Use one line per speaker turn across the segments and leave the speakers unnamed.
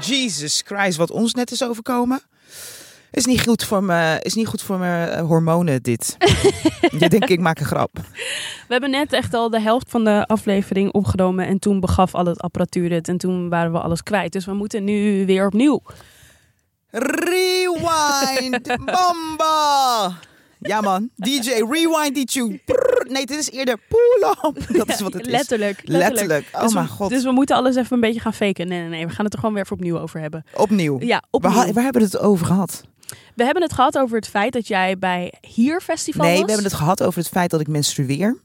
Jesus Christ, wat ons net is overkomen. Is niet goed voor mijn, is niet goed voor mijn eh, hormonen dit. Je denkt, ik maak een grap.
We hebben net echt al de helft van de aflevering opgenomen. En toen begaf al het apparatuur het. En toen waren we alles kwijt. Dus we moeten nu weer opnieuw.
Rewind, bamba. Ja man, DJ, rewind die tune. Prrr. Nee, dit is eerder pull up. Dat is wat het is.
letterlijk, letterlijk.
Letterlijk. Oh
Dus we-
mijn god,
Dus we moeten alles even een beetje gaan faken. Nee, nee, nee. We gaan het er gewoon weer even opnieuw over hebben.
opnieuw.
Ja,
We,
opnieuw.
ha- we hebben het over gehad.
We hebben het gehad over het feit dat jij bij hier festival
Nee,
was.
we hebben het gehad over het feit dat ik menstrueer.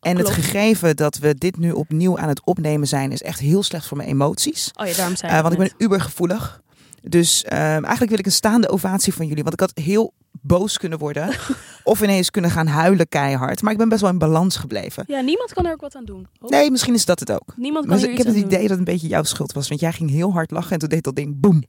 En
Klopt.
het gegeven dat we dit nu opnieuw aan het opnemen zijn, is echt heel slecht voor mijn emoties.
Oh ja, daarom zei
Eh,
ik
want ik ben ubergevoelig. Dus ehm, eigenlijk wil ik een staande ovatie van jullie. Want ik had heel boos kunnen worden. of ineens kunnen gaan huilen keihard. Maar ik ben best wel in balans gebleven.
Ja, niemand kan er ook wat aan doen. Oh,
Nee, misschien is dat het ook.
Niemand kan
Maar
hier
ik
iets
heb het
aan doen.
idee dat het een beetje jouw schuld was. Want jij ging heel hard lachen en toen deed dat ding boem.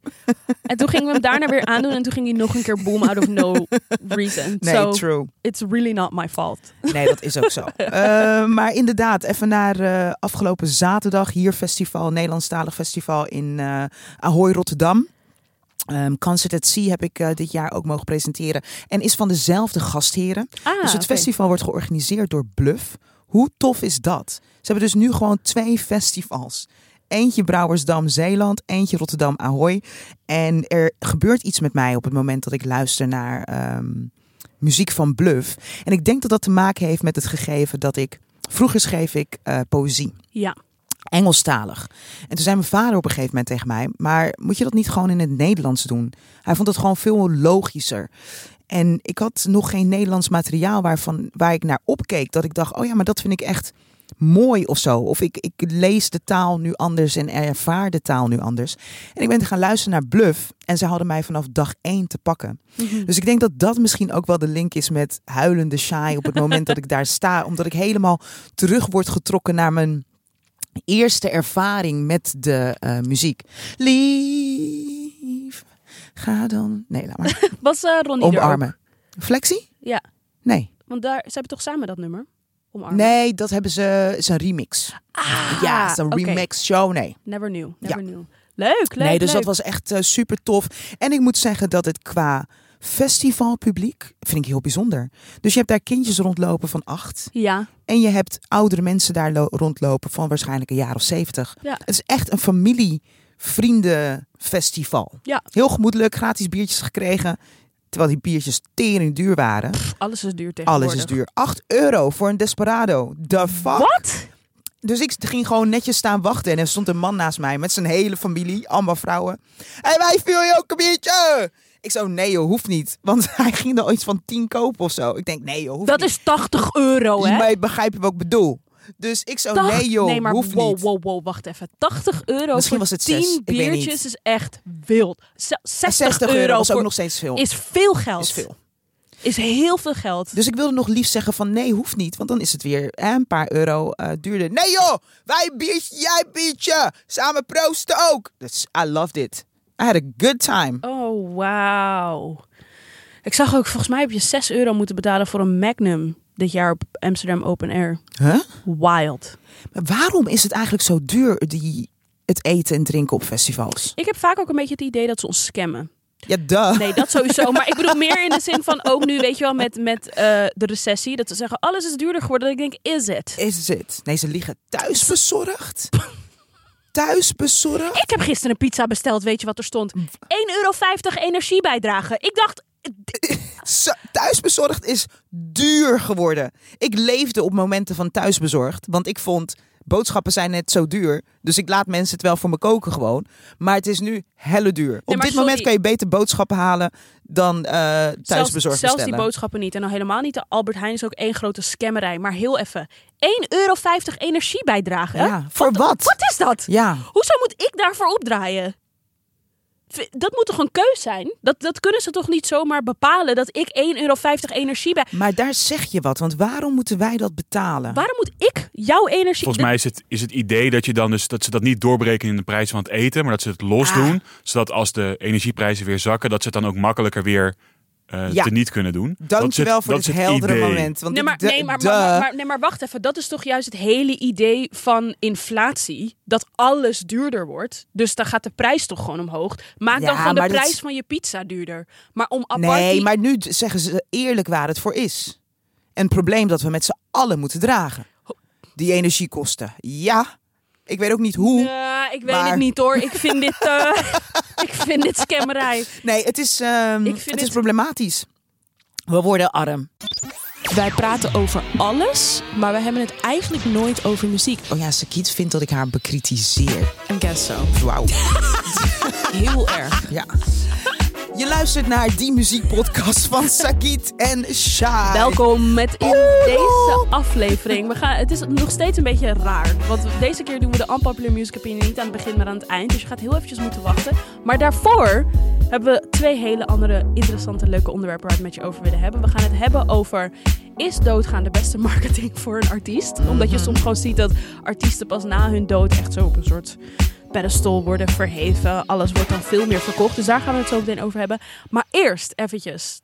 En toen gingen we hem daarna weer aandoen en toen ging hij nog een keer boom out of no reason.
Nee,
so
true.
it's really not my fault.
Nee, dat is ook zo. Eh, maar inderdaad, even naar eh, afgelopen zaterdag hier festival, Nederlandstalig festival in eh Ahoy Rotterdam. Ehm Concert at Sea heb ik eh, dit jaar ook mogen presenteren. En is van dezelfde gastheren.
Ah,
dus het festival wordt georganiseerd door Bluff. Hoe tof is dat? Ze hebben dus nu gewoon twee festivals. Eentje Brouwersdam Zeeland, eentje Rotterdam Ahoy. En er gebeurt iets met mij op het moment dat ik luister naar ehm, muziek van Bluff. En ik denk dat dat te maken heeft met het gegeven dat ik... Vroeger schreef ik eh, poëzie.
Ja,
Engelstalig. En toen zei mijn vader op een gegeven moment tegen mij: Maar moet je dat niet gewoon in het Nederlands doen? Hij vond het gewoon veel logischer. En ik had nog geen Nederlands materiaal waarvan, waar ik naar opkeek. Dat ik dacht: Oh ja, maar dat vind ik echt mooi of zo. Of ik, ik lees de taal nu anders en ervaar de taal nu anders. En ik ben gaan luisteren naar Bluff. En ze hadden mij vanaf dag één te pakken. Dus ik denk dat dat misschien ook wel de link is met huilende shy op het moment dat ik daar sta. Omdat ik helemaal terug word getrokken naar mijn eerste ervaring met de eh, muziek. Lief, ga dan... Nee, laat maar.
was eh, Ronnie er ook?
Omarmen. Flexie?
Ja,
Nee.
want daar, ze hebben toch samen dat nummer? Omarmen.
Nee, dat hebben ze... is een remix.
Ah,
ja, is een
oké.
remix show. Nee.
Never new, never new. Leuk, leuk,
nee, dus
leuk.
dat was echt eh, super tof. En ik moet zeggen dat het qua festivalpubliek vind ik heel bijzonder. Dus je hebt daar kindjes rondlopen van acht.
Ja,
En je hebt oudere mensen daar lo- rondlopen van waarschijnlijk een jaar of zeventig.
Ja.
Het is echt een familie-vriendenfestival.
Ja.
Heel gemoedelijk, gratis biertjes gekregen. Terwijl die biertjes tering duur waren.
alles is duur tegenwoordig.
Alles is duur. 8 euro voor een Desperado. The fuck?
Wat?
Dus ik ging gewoon netjes staan wachten. En er stond een man naast mij met zijn hele familie, allemaal vrouwen. Hé, hey, wij viel je ook een biertje? Ik zo, nee joh, hoeft niet. Want hij ging er iets van tien kopen of zo. Ik denk, nee joh, hoeft
Dat
niet.
is 80 euro, Oh, hè?
Dus Maar je begrijpt wat ik bedoel. Dus ik zo,
Tacht-
nee joh,
nee, maar
hoeft
wow,
niet.
wow, wow, wacht even. 80 euro
Misschien
voor
was het
10
zes, ik weet niet.
biertjes is echt wild. Z- 60,
60 euro is ook
voor-
nog steeds veel.
is veel geld.
Is veel.
Is heel veel geld.
Dus ik wilde nog liefst zeggen van nee, hoeft niet. Want dan is het weer hè, een paar euro eh, duurder. Nee joh, wij een biertje, jij een biertje. Samen proosten ook. Dus I loved it. I had a good time.
Oh, wauw. Ik zag ook, volgens mij heb je 6 euro moeten betalen voor een Magnum dit jaar op Amsterdam Open Air.
Huh?
Wild.
Maar waarom is het eigenlijk zo duur, die, het eten en drinken op festivals?
Ik heb vaak ook een beetje het idee dat ze ons scammen.
Ja, duh.
Nee, dat sowieso. Maar ik bedoel meer in de zin van ook nu, weet je wel, met, met eh, de recessie. Dat ze zeggen, alles is duurder geworden. Dat ik denk, is het?
Is het? Nee, ze liggen thuis bezorgd. Thuis bezorgd?
Ik heb gisteren een pizza besteld, weet je wat er stond? 1,50 euro energiebijdrage. Ik dacht,
Zo- Thuisbezorgd is duur geworden. Ik leefde op momenten van thuisbezorgd, want ik vond boodschappen zijn net zo duur. Dus ik laat mensen het wel voor me koken gewoon. Maar het is nu helle duur. Op
maar
dit
sorry.
moment kan je beter boodschappen halen dan eh thuisbezorgd
zelfs,
bestellen.
zelfs die boodschappen niet. En dan helemaal niet. De Albert Heijn is ook één grote scammerij. Maar heel even, 1,50 euro energiebijdrage?
Ja, voor wat?
Wat is dat?
Ja.
Hoezo moet ik daarvoor opdraaien? V- Dat moet toch een keus zijn? Dat, dat kunnen ze toch niet zomaar bepalen dat ik 1,50 euro energie bij.
Maar daar zeg je wat, want waarom moeten wij dat betalen?
Waarom moet ik jouw energie.
Volgens mij is het, is het idee dat, je dan dus, dat ze dat niet doorbreken in de prijs van het eten, maar dat ze het los
Ah.
doen. Zodat als de energieprijzen weer zakken, dat ze het dan ook makkelijker weer eh,
Ja.
te niet kunnen doen. Dat is het-
Dankjewel voor
dat
dit
is het
heldere
idee.
moment. Want
Nee maar,
de-
nee, maar,
de-
maar, maar- maar- nee, maar wacht even. Dat is toch juist het hele idee van inflatie? Dat alles duurder wordt. Dus dan gaat de prijs toch gewoon omhoog. Maak
Ja,
dan gewoon de
maar dat
prijs
is-
van je pizza duurder. Maar om apart...
nee,
die-
maar nu d- zeggen ze eerlijk waar het voor is. Een probleem dat we met z'n allen moeten dragen. Die energiekosten. Ja, ik weet ook niet hoe.
Ja, ik weet
maar-
het niet hoor. Ik vind dit, eh, ik vind dit scammerij.
Nee, het is, ehm,
Ik vind
het is
het-
problematisch. We worden arm.
Wij praten over alles, maar we hebben het eigenlijk nooit over muziek.
Oh ja, Sakiet vindt dat ik haar bekritiseer.
En guess so.
Wauw.
Heel erg.
Ja. Je luistert naar die muziekpodcast van Sakit en Sha.
Welkom met in
Oh.
deze aflevering. We gaan, het is nog steeds een beetje raar. Want deze keer doen we de Unpopular Music Opinion niet aan het begin, maar aan het eind. Dus je gaat heel eventjes moeten wachten. Maar daarvoor hebben we twee hele andere interessante, leuke onderwerpen waar we het met je over willen hebben. We gaan het hebben over... Is doodgaan de beste marketing voor een artiest? Omdat je soms gewoon ziet dat artiesten pas na hun dood echt zo op een soort pedestal worden verheven. Alles wordt dan veel meer verkocht. Dus daar gaan we het zo meteen over hebben. Maar eerst eventjes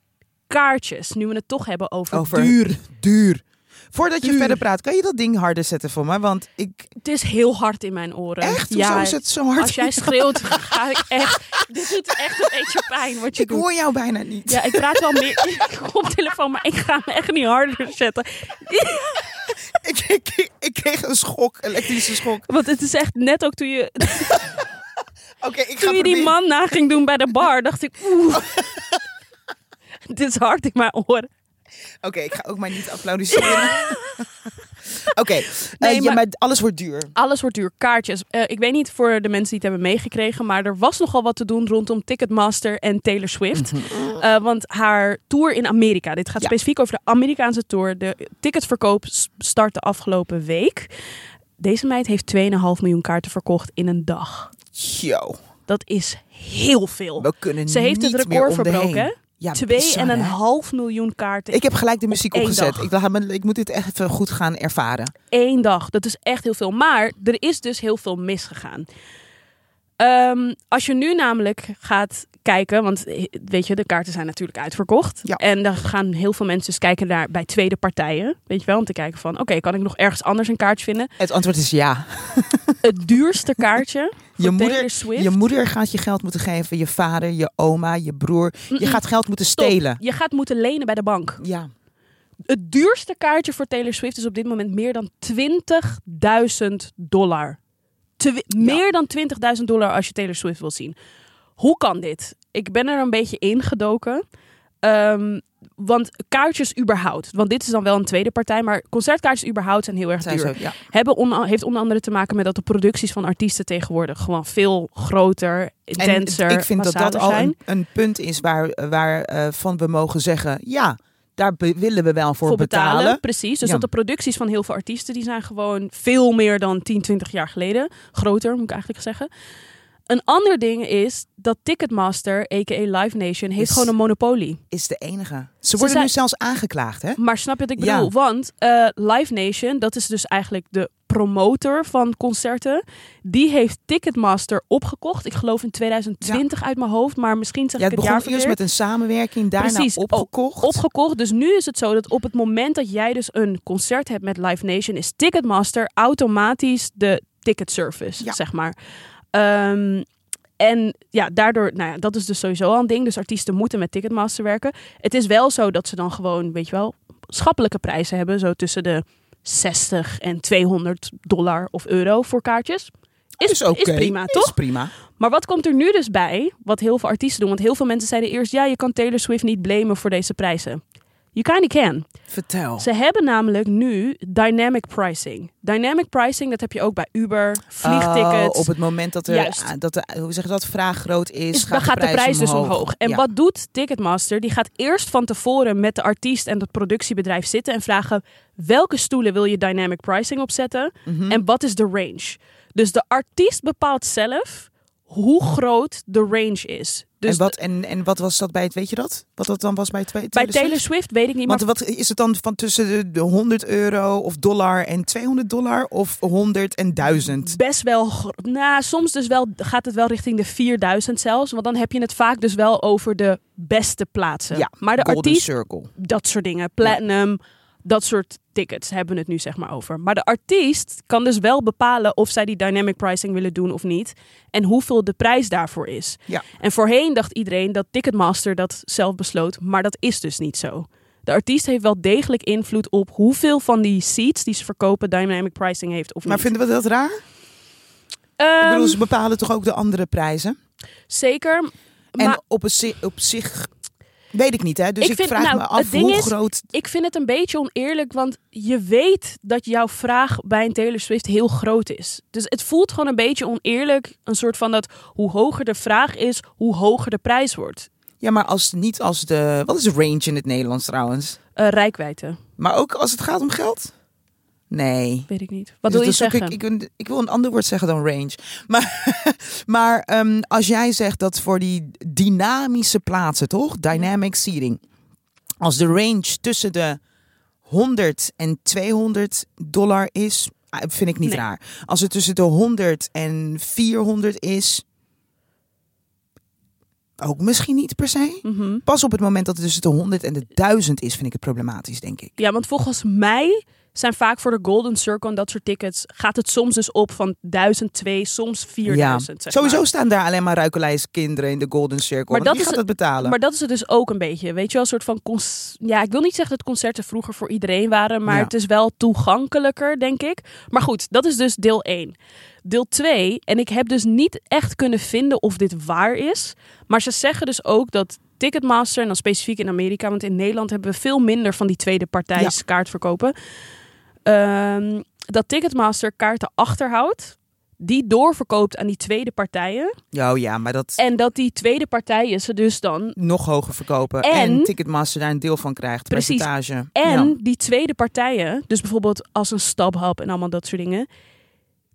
kaartjes. Nu we het toch hebben over,
Over
duur.
duur, duur. Voordat je
Duur.
verder praat, kan je dat ding harder zetten voor me? Want ik...
Het is heel hard in mijn oren.
Echt? Hoezo
Eh, Ja,
is het zo hard?
Als jij schreeuwt, ga ik echt... Dit doet echt een beetje pijn wat je
Ik
doet.
hoor jou bijna niet.
Ja, ik praat wel meer op telefoon, maar ik ga me echt niet harder zetten.
Ik, ik, ik kreeg een schok, elektrische schok.
Want het is echt net ook toen je,
Oké, ik ga
toen je die
proberen-
man na ging doen bij de bar, dacht ik... Oeh, dit is hard in mijn oren.
Oké, ik ga ook maar niet applaudisseren. Oké, eh,
Nee,
ja,
maar-
maar alles wordt duur.
Alles wordt duur. Kaartjes. Eh, ik weet niet voor de mensen die het hebben meegekregen, maar er was nogal wat te doen rondom Ticketmaster en Taylor Swift. Eh, want haar tour in Amerika, dit gaat
Mhm. Ja.
specifiek over de Amerikaanse tour. De ticketverkoop s- start de afgelopen week. Deze meid heeft 2,5 miljoen kaarten verkocht in een dag.
Yo,
Dat is heel veel.
we kunnen
Ze heeft
niet
het
meer
record
om de
verbroken.
heen.
hè?
Ja, bizar, hè?
2,5 miljoen kaarten
Ik heb gelijk de muziek
één
opgezet.
dag.
Ik, dacht, maar ik moet dit echt even goed gaan ervaren.
één dag. Dat is echt heel veel. Maar er is dus heel veel misgegaan. Ehm, als je nu namelijk gaat kijken, want eh, weet je, de kaarten zijn natuurlijk uitverkocht.
Ja.
En dan gaan heel veel mensen dus kijken naar bij tweede partijen. Weet je wel, om te kijken van, oké, kan ik nog ergens anders een kaartje vinden?
Het antwoord is ja.
Het duurste kaartje voor
Je
Taylor
moeder,
Swift.
je moeder gaat je geld moeten geven, je vader, je oma, je broer. Je gaat geld moeten
Stop.
stelen.
Je gaat moeten lenen bij de bank.
Ja.
Het duurste kaartje voor Taylor Swift is op dit moment meer dan 20.000 dollar. Twi- Meer dan 20.000 dollar als je Taylor Swift wil zien. Hoe kan dit? Ik ben er een beetje ingedoken. Ehm want kaartjes überhaupt. Want dit is dan wel een tweede partij. Maar concertkaartjes überhaupt zijn heel erg
Zijn
duur
zo, ja.
hebben on- heeft onder andere te maken met dat de producties van artiesten tegenwoordig gewoon veel groter,
En
intenser,
ik vind dat dat
massaler
al
zijn.
een, een punt is waar, waar eh, van we mogen zeggen... ja, daar be- willen we wel voor, betalen.
Precies, dus
Ja.
dat de producties van heel veel artiesten, die zijn gewoon veel meer dan 10, 20 jaar geleden. Groter, moet ik eigenlijk zeggen. Een ander ding is dat Ticketmaster, a.k.a. Live Nation, heeft
Is-
gewoon een monopolie.
Is de enige. Ze worden
zijn-
nu zelfs aangeklaagd, hè?
Maar snap je wat ik
Ja.
bedoel? Want eh, Live Nation, dat is dus eigenlijk de promotor van concerten. Die heeft Ticketmaster opgekocht. Ik geloof in 2020 uit mijn hoofd, maar misschien zeg
Ja,
ik
het
het jaar
begon eerst
verkeerd.
met een samenwerking, daarna
Precies. Oh, O-
opgekocht.
Opgekocht. Dus nu is het zo dat op het moment dat jij dus een concert hebt met Live Nation, is Ticketmaster automatisch de ticketservice,
Ja.
zeg maar. Ehm, en ja, daardoor, nou ja, dat is dus sowieso al een ding. Dus artiesten moeten met Ticketmaster werken. Het is wel zo dat ze dan gewoon, weet je wel, schappelijke prijzen hebben. Zo tussen de 60 en 200 dollar of euro voor kaartjes. Is,
is oké.
is prima, toch?
Is prima.
Maar wat komt er nu dus bij, wat heel veel artiesten doen? Want heel veel mensen zeiden eerst, ja, je kan Taylor Swift niet blamen voor deze prijzen. You kinda can.
Vertel.
Ze hebben namelijk nu dynamic pricing. Dynamic pricing, dat heb je ook bij Uber, vliegtickets.
Oh, op het moment dat, er,
Juist.
ah, dat de, hoe zeg je dat, vraag groot is,
Is-
gaat,
dan gaat de prijs dus
omhoog.
omhoog. En
Ja.
wat doet Ticketmaster? Die gaat eerst van tevoren met de artiest en het productiebedrijf zitten en vragen welke stoelen wil je dynamic pricing opzetten
Mhm.
en wat is de range. Dus de artiest bepaalt zelf hoe groot de range is.
en,
Dus
wat, en, en wat was dat bij het, weet je dat? Wat dat dan was bij, twe-
bij
Swift?
Taylor Swift weet ik niet, maar
Want wat is het dan van tussen de, de 100 euro of dollar en 200 dollar of 100 en 1000?
best wel. gro- Nou, soms dus wel gaat het wel richting de 4000 zelfs. Want dan heb je het vaak dus wel over de beste plaatsen.
Ja,
maar de
Golden
artiest,
Circle.
dat soort dingen, platinum, dat soort tickets hebben we het nu zeg maar over. Maar de artiest kan dus wel bepalen of zij die dynamic pricing willen doen of niet. En hoeveel de prijs daarvoor is.
Ja.
En voorheen dacht iedereen dat Ticketmaster dat zelf besloot, maar dat is dus niet zo. De artiest heeft wel degelijk invloed op hoeveel van die seats die ze verkopen dynamic pricing heeft of
Maar
niet.
vinden we dat raar? Ik
Ehm,
bedoel, ze bepalen toch ook de andere prijzen?
Zeker.
En
maar
op, een zi- op zich weet ik niet, hè? Dus
Ik
ik,
vind-
vraag
nou,
me
het
af
ding
hoe
is-
groot.
ik vind het een beetje oneerlijk, want je weet dat jouw vraag bij een Taylor Swift heel groot is. Dus het voelt gewoon een beetje oneerlijk, een soort van dat hoe hoger de vraag is, hoe hoger de prijs wordt.
Ja, maar als niet als de. Wat is range in het Nederlands trouwens?
Eh rijkwijde,
Maar ook als het gaat om geld? Nee.
weet ik niet. Wat wil je
Dus dan zoek
zeggen?
Ik, ik, een- ik wil een ander woord zeggen dan range. Maar, maar ehm, als jij zegt dat voor die dynamische plaatsen, toch? Dynamic seating. Als de range tussen de 100 en 200 dollar is, ah, vind ik niet
Nee.
raar. Als het tussen de 100 en 400 is, ook misschien niet per se.
Mhm.
Pas op het moment dat het tussen de 100 en de 1000 is, vind ik het problematisch, denk ik.
Ja, want volgens mij zijn vaak voor de Golden Circle en dat soort tickets gaat het soms dus op van 1002, soms 4000. zeg
Sowieso
maar.
staan daar alleen maar ruikelijskinderen in de Golden Circle.
Maar
Maar
dat
dat wie
is
gaat
het-
dat betalen?
Maar dat is het dus ook een beetje. Weet je wel, een soort van. cons- Ja, ik wil niet zeggen dat concerten vroeger voor iedereen waren. Maar
Ja.
het is wel toegankelijker, denk ik. Maar goed, dat is dus deel 1. Deel 2, en ik heb dus niet echt kunnen vinden of dit waar is. Maar ze zeggen dus ook dat. Ticketmaster, en dan specifiek in Amerika, want in Nederland hebben we veel minder van die tweede partijs kaartverkopen. Ehm, dat Ticketmaster kaarten achterhoudt, die doorverkoopt aan die tweede partijen.
Ja, oh ja, maar dat
En dat die tweede partijen ze dus dan
nog hoger verkopen.
En-
En, Ticketmaster daar een deel van krijgt.
Precies.
Percentage.
En
Ja.
die tweede partijen, dus bijvoorbeeld als een StubHub en allemaal dat soort dingen,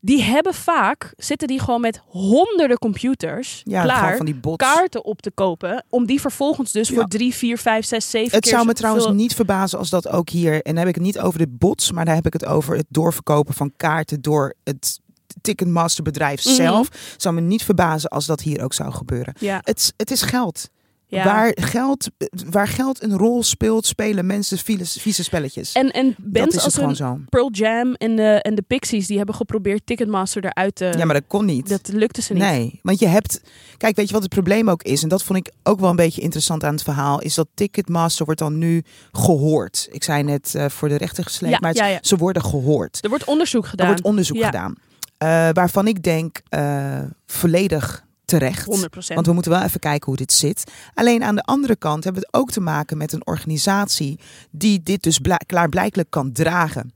die hebben vaak, zitten die gewoon met honderden computers
Ja, het gaat
klaar
van die bots.
kaarten op te kopen, om die vervolgens dus
Ja.
voor drie, vier, vijf, zes, zeven
het
keer
zou me
zoveel-
trouwens niet verbazen als dat ook hier. En dan heb ik het niet over de bots, maar daar heb ik het over het doorverkopen van kaarten door het Ticketmaster bedrijf
Mhm.
zelf. Zou me niet verbazen als dat hier ook zou gebeuren.
Ja,
Het, het is geld.
ja.
Waar geld. Waar geld een rol speelt, spelen mensen vieze, vieze spelletjes.
en, en
dat
bands
is het
als
gewoon
een
zo.
Pearl Jam en de, en de Pixies, die hebben geprobeerd Ticketmaster eruit te...
Ja, maar dat kon niet.
eh, Dat lukte ze niet.
Nee, want je hebt. Kijk, weet je wat het probleem ook is? En dat vond ik ook wel een beetje interessant aan het verhaal. Is dat Ticketmaster wordt dan nu gehoord. Ik zei net eh, voor de rechter gesleept,
Ja,
maar het-
ja, ja.
ze worden gehoord.
Er wordt onderzoek
Er
gedaan.
wordt onderzoek
Ja.
gedaan. Eh, waarvan ik denk eh, volledig terecht.
100%.
Want we moeten wel even kijken hoe dit zit. Alleen aan de andere kant hebben we het ook te maken met een organisatie die dit dus bla- klaarblijkelijk kan dragen.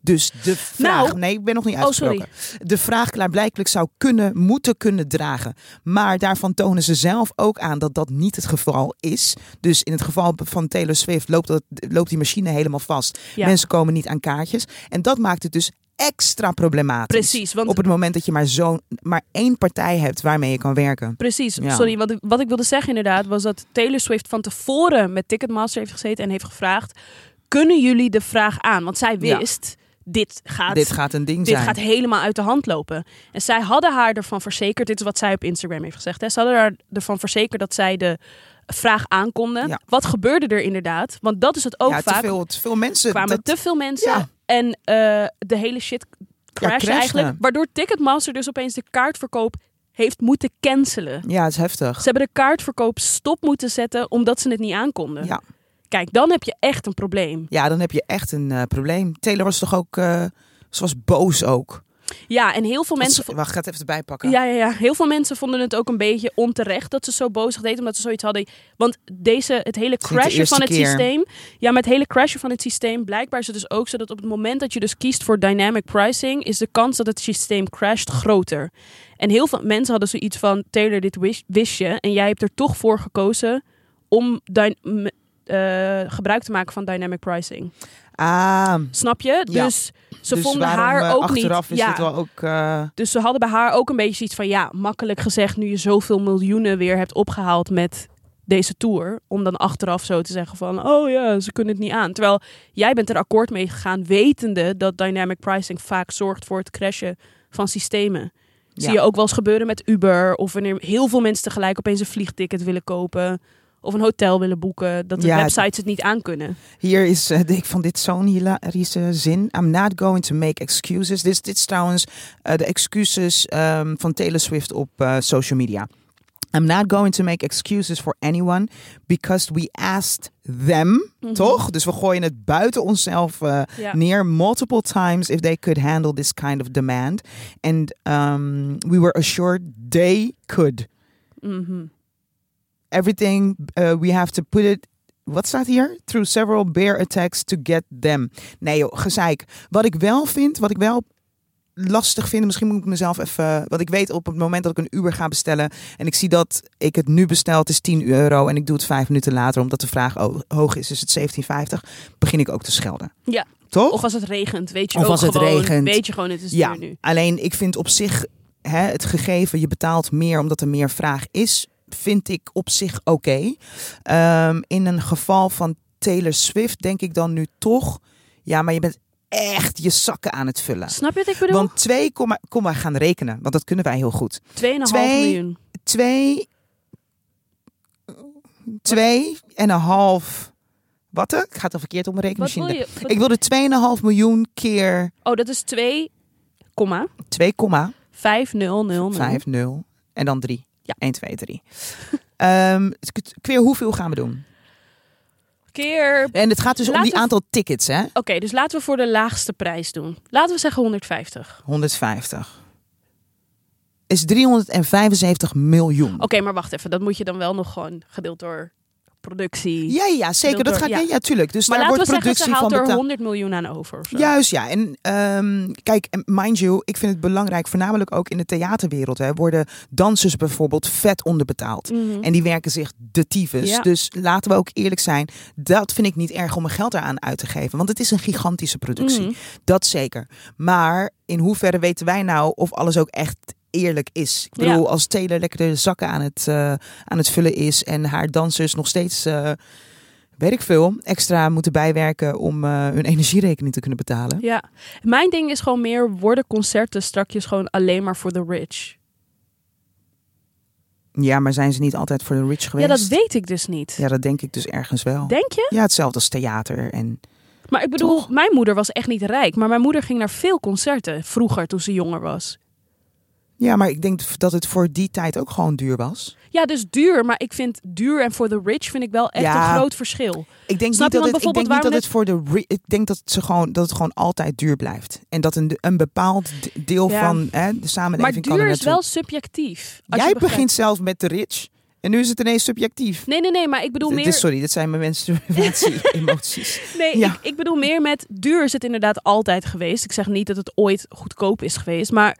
Dus de vraag.
Nou-
nee, ik ben nog niet
Oh, sorry.
uitgesproken. de vraag klaarblijkelijk zou kunnen, moeten kunnen dragen. Maar daarvan tonen ze zelf ook aan dat dat niet het geval is. Dus in het geval van Taylor Swift loopt, dat, loopt die machine helemaal vast.
Ja.
Mensen komen niet aan kaartjes. En dat maakt het dus extra problematisch.
Precies, want
Op het moment dat je maar, zo, maar één partij hebt waarmee je kan werken.
Precies,
Ja.
sorry. Wat ik, wat ik wilde zeggen inderdaad was dat Taylor Swift van tevoren met Ticketmaster heeft gezeten en heeft gevraagd: kunnen jullie de vraag aan? Want zij
Ja.
wist, dit gaat.
Dit gaat een ding
dit
zijn.
gaat helemaal uit de hand lopen. En zij hadden haar ervan verzekerd. Dit is wat zij op Instagram heeft gezegd. Hè. Ze hadden haar ervan verzekerd dat zij de vraag aankonden.
Ja.
Wat gebeurde er inderdaad? Want dat is het ook
ja, te
vaak.
veel, te veel mensen.
kwamen
dat-
te veel mensen.
Ja.
En eh, de hele shit crasht
crashte.
eigenlijk. Waardoor Ticketmaster dus opeens de kaartverkoop heeft moeten cancelen.
ja, het is heftig.
Ze hebben de kaartverkoop stop moeten zetten omdat ze het niet aankonden.
Ja.
Kijk, dan heb je echt een probleem.
ja, dan heb je echt een eh, probleem. Taylor was toch ook. eh, ze was boos ook.
Ja, en heel veel mensen.
Want ze- Wacht, ik ga het even erbij pakken.
Ja, ja, ja, heel veel mensen vonden het ook een beetje onterecht dat ze zo boos deden, omdat ze zoiets hadden. Want deze, het hele
is niet de
crashen van het
eerste keer.
systeem. Ja, maar het hele crashen van het systeem. Blijkbaar is het dus ook zo dat op het moment dat je dus kiest voor dynamic pricing, is de kans dat het systeem crasht groter. En heel veel mensen hadden zoiets van: Taylor, dit wist, wist je. En jij hebt er toch voor gekozen om dy- m- eh, gebruik te maken van dynamic pricing.
Ah,
Snap je?
Ja.
Dus ze
dus
vonden
waarom, eh,
haar ook
achteraf
niet.
is
ja.
het wel ook... eh,
Dus ze hadden bij haar ook een beetje iets van ja, makkelijk gezegd, nu je zoveel miljoenen weer hebt opgehaald met deze tour, om dan achteraf zo te zeggen van oh ja, ze kunnen het niet aan. Terwijl jij bent er akkoord mee gegaan, wetende dat dynamic pricing vaak zorgt voor het crashen van systemen.
Ja.
Zie je ook wel eens gebeuren met Uber of wanneer heel veel mensen tegelijk opeens een vliegticket willen kopen of een hotel willen boeken, dat de
Ja.
websites het niet aankunnen.
Hier is, eh, denk ik van dit zo'n hilarische zin. I'm not going to make excuses. Dit, is- dit is trouwens eh, de excuses ehm, van Taylor Swift op eh, social media. I'm not going to make excuses for anyone because we asked them, toch? Dus we gooien het buiten onszelf eh,
Ja.
neer multiple times if they could handle this kind of demand. And um, we were assured they could.
Mhm.
everything uh, we have to put it. Wat staat hier? Through several bear attacks to get them. Nee joh, gezeik. Wat ik wel vind, wat ik wel lastig vind, misschien moet ik mezelf even... Wat ik weet op het moment dat ik een Uber ga bestellen en ik zie dat ik het nu bestel, het is 10 euro en ik doe het vijf minuten later omdat de vraag ho- hoog is, is het 17,50, begin ik ook te schelden.
Ja.
Toch?
Of als het regent, weet je
Of
ook
als het
gewoon,
regent.
weet je gewoon het is
Ja,
duur nu.
alleen ik vind op zich hè, het gegeven, je betaalt meer omdat er meer vraag is, vind ik op zich oké. Ehm, in een geval van Taylor Swift denk ik dan nu toch, ja, maar je bent echt je zakken aan het vullen.
Snap je wat ik bedoel?
Want 2, komma- kom maar gaan rekenen, want dat kunnen wij heel goed.
2,5 miljoen.
2, 2 en een half, wat? Ik ga het al verkeerd op mijn
Wat
rekenmachine.
wil je? Wat-
Ik wilde 2,5 miljoen keer
Oh, dat is 2,5000.
2, Vijf, nul. En dan drie.
Ja.
1, 2, 3. Ehm k- Queer, hoeveel gaan we doen?
Keer. Oké,
En het gaat dus om
Laten
die
we-
aantal tickets, hè?
dus laten we voor de laagste prijs doen. Laten we zeggen 150.
150. Is 375 miljoen.
Oké, maar wacht even. Dat moet je dan wel nog gewoon gedeeld door productie.
Ja, ja, zeker. Dat
Door-
gaat... Ja,
ja.
ja, tuurlijk. Dus
maar
daar
laten we
wordt
zeggen,
productie
ze haalt
van
er
betaald.
100 miljoen aan over. of zo.
Juist, ja. En ehm, kijk, en mind you, ik vind het belangrijk, voornamelijk ook in de theaterwereld, hè, worden dansers bijvoorbeeld vet onderbetaald.
Mhm.
En die werken zich de tyfus.
Ja.
Dus laten we ook eerlijk zijn. Dat vind ik niet erg om mijn geld eraan uit te geven. Want het is een gigantische productie.
Mhm.
Dat zeker. Maar in hoeverre weten wij nou of alles ook echt eerlijk is? Ik bedoel, als Taylor lekker de zakken aan het, eh, aan het vullen is... en haar dansers nog steeds, eh, weet ik veel, extra moeten bijwerken... om eh, hun energierekening te kunnen betalen.
Ja. Mijn ding is gewoon meer, worden concerten strakjes gewoon alleen maar voor de rich?
Ja, maar zijn ze niet altijd voor de rich geweest?
Ja, dat weet ik dus niet.
Ja, dat denk ik dus ergens wel.
Denk je?
Ja, hetzelfde als theater en...
Maar ik bedoel,
Toch?
mijn moeder was echt niet rijk. Maar mijn moeder ging naar veel concerten vroeger toen ze jonger was.
Ja, maar ik denk dat het voor die tijd ook gewoon duur was.
Ja, dus duur. Maar ik vind duur en voor de rich vind ik wel echt
Ja.
een groot verschil.
Ik denk
Snap je?
niet dat,
Want
het, ik denk
bijvoorbeeld
niet dat het
waarom
voor de. re- Ik denk dat, ze gewoon, dat het gewoon altijd duur blijft. En dat een, een bepaald d- deel
Ja.
van hè, de
Maar
samenleving kan er
duur is
naartoe.
wel subjectief. als
Jij
je begrijpt.
begint zelf met de rich. En nu is het ineens subjectief.
Nee, nee, nee. Maar ik bedoel
Dit-
meer...
dit- sorry, dit zijn mijn menstruatie-emoties.
Nee,
Ja.
ik, ik bedoel meer met duur is het inderdaad altijd geweest. Ik zeg niet dat het ooit goedkoop is geweest, maar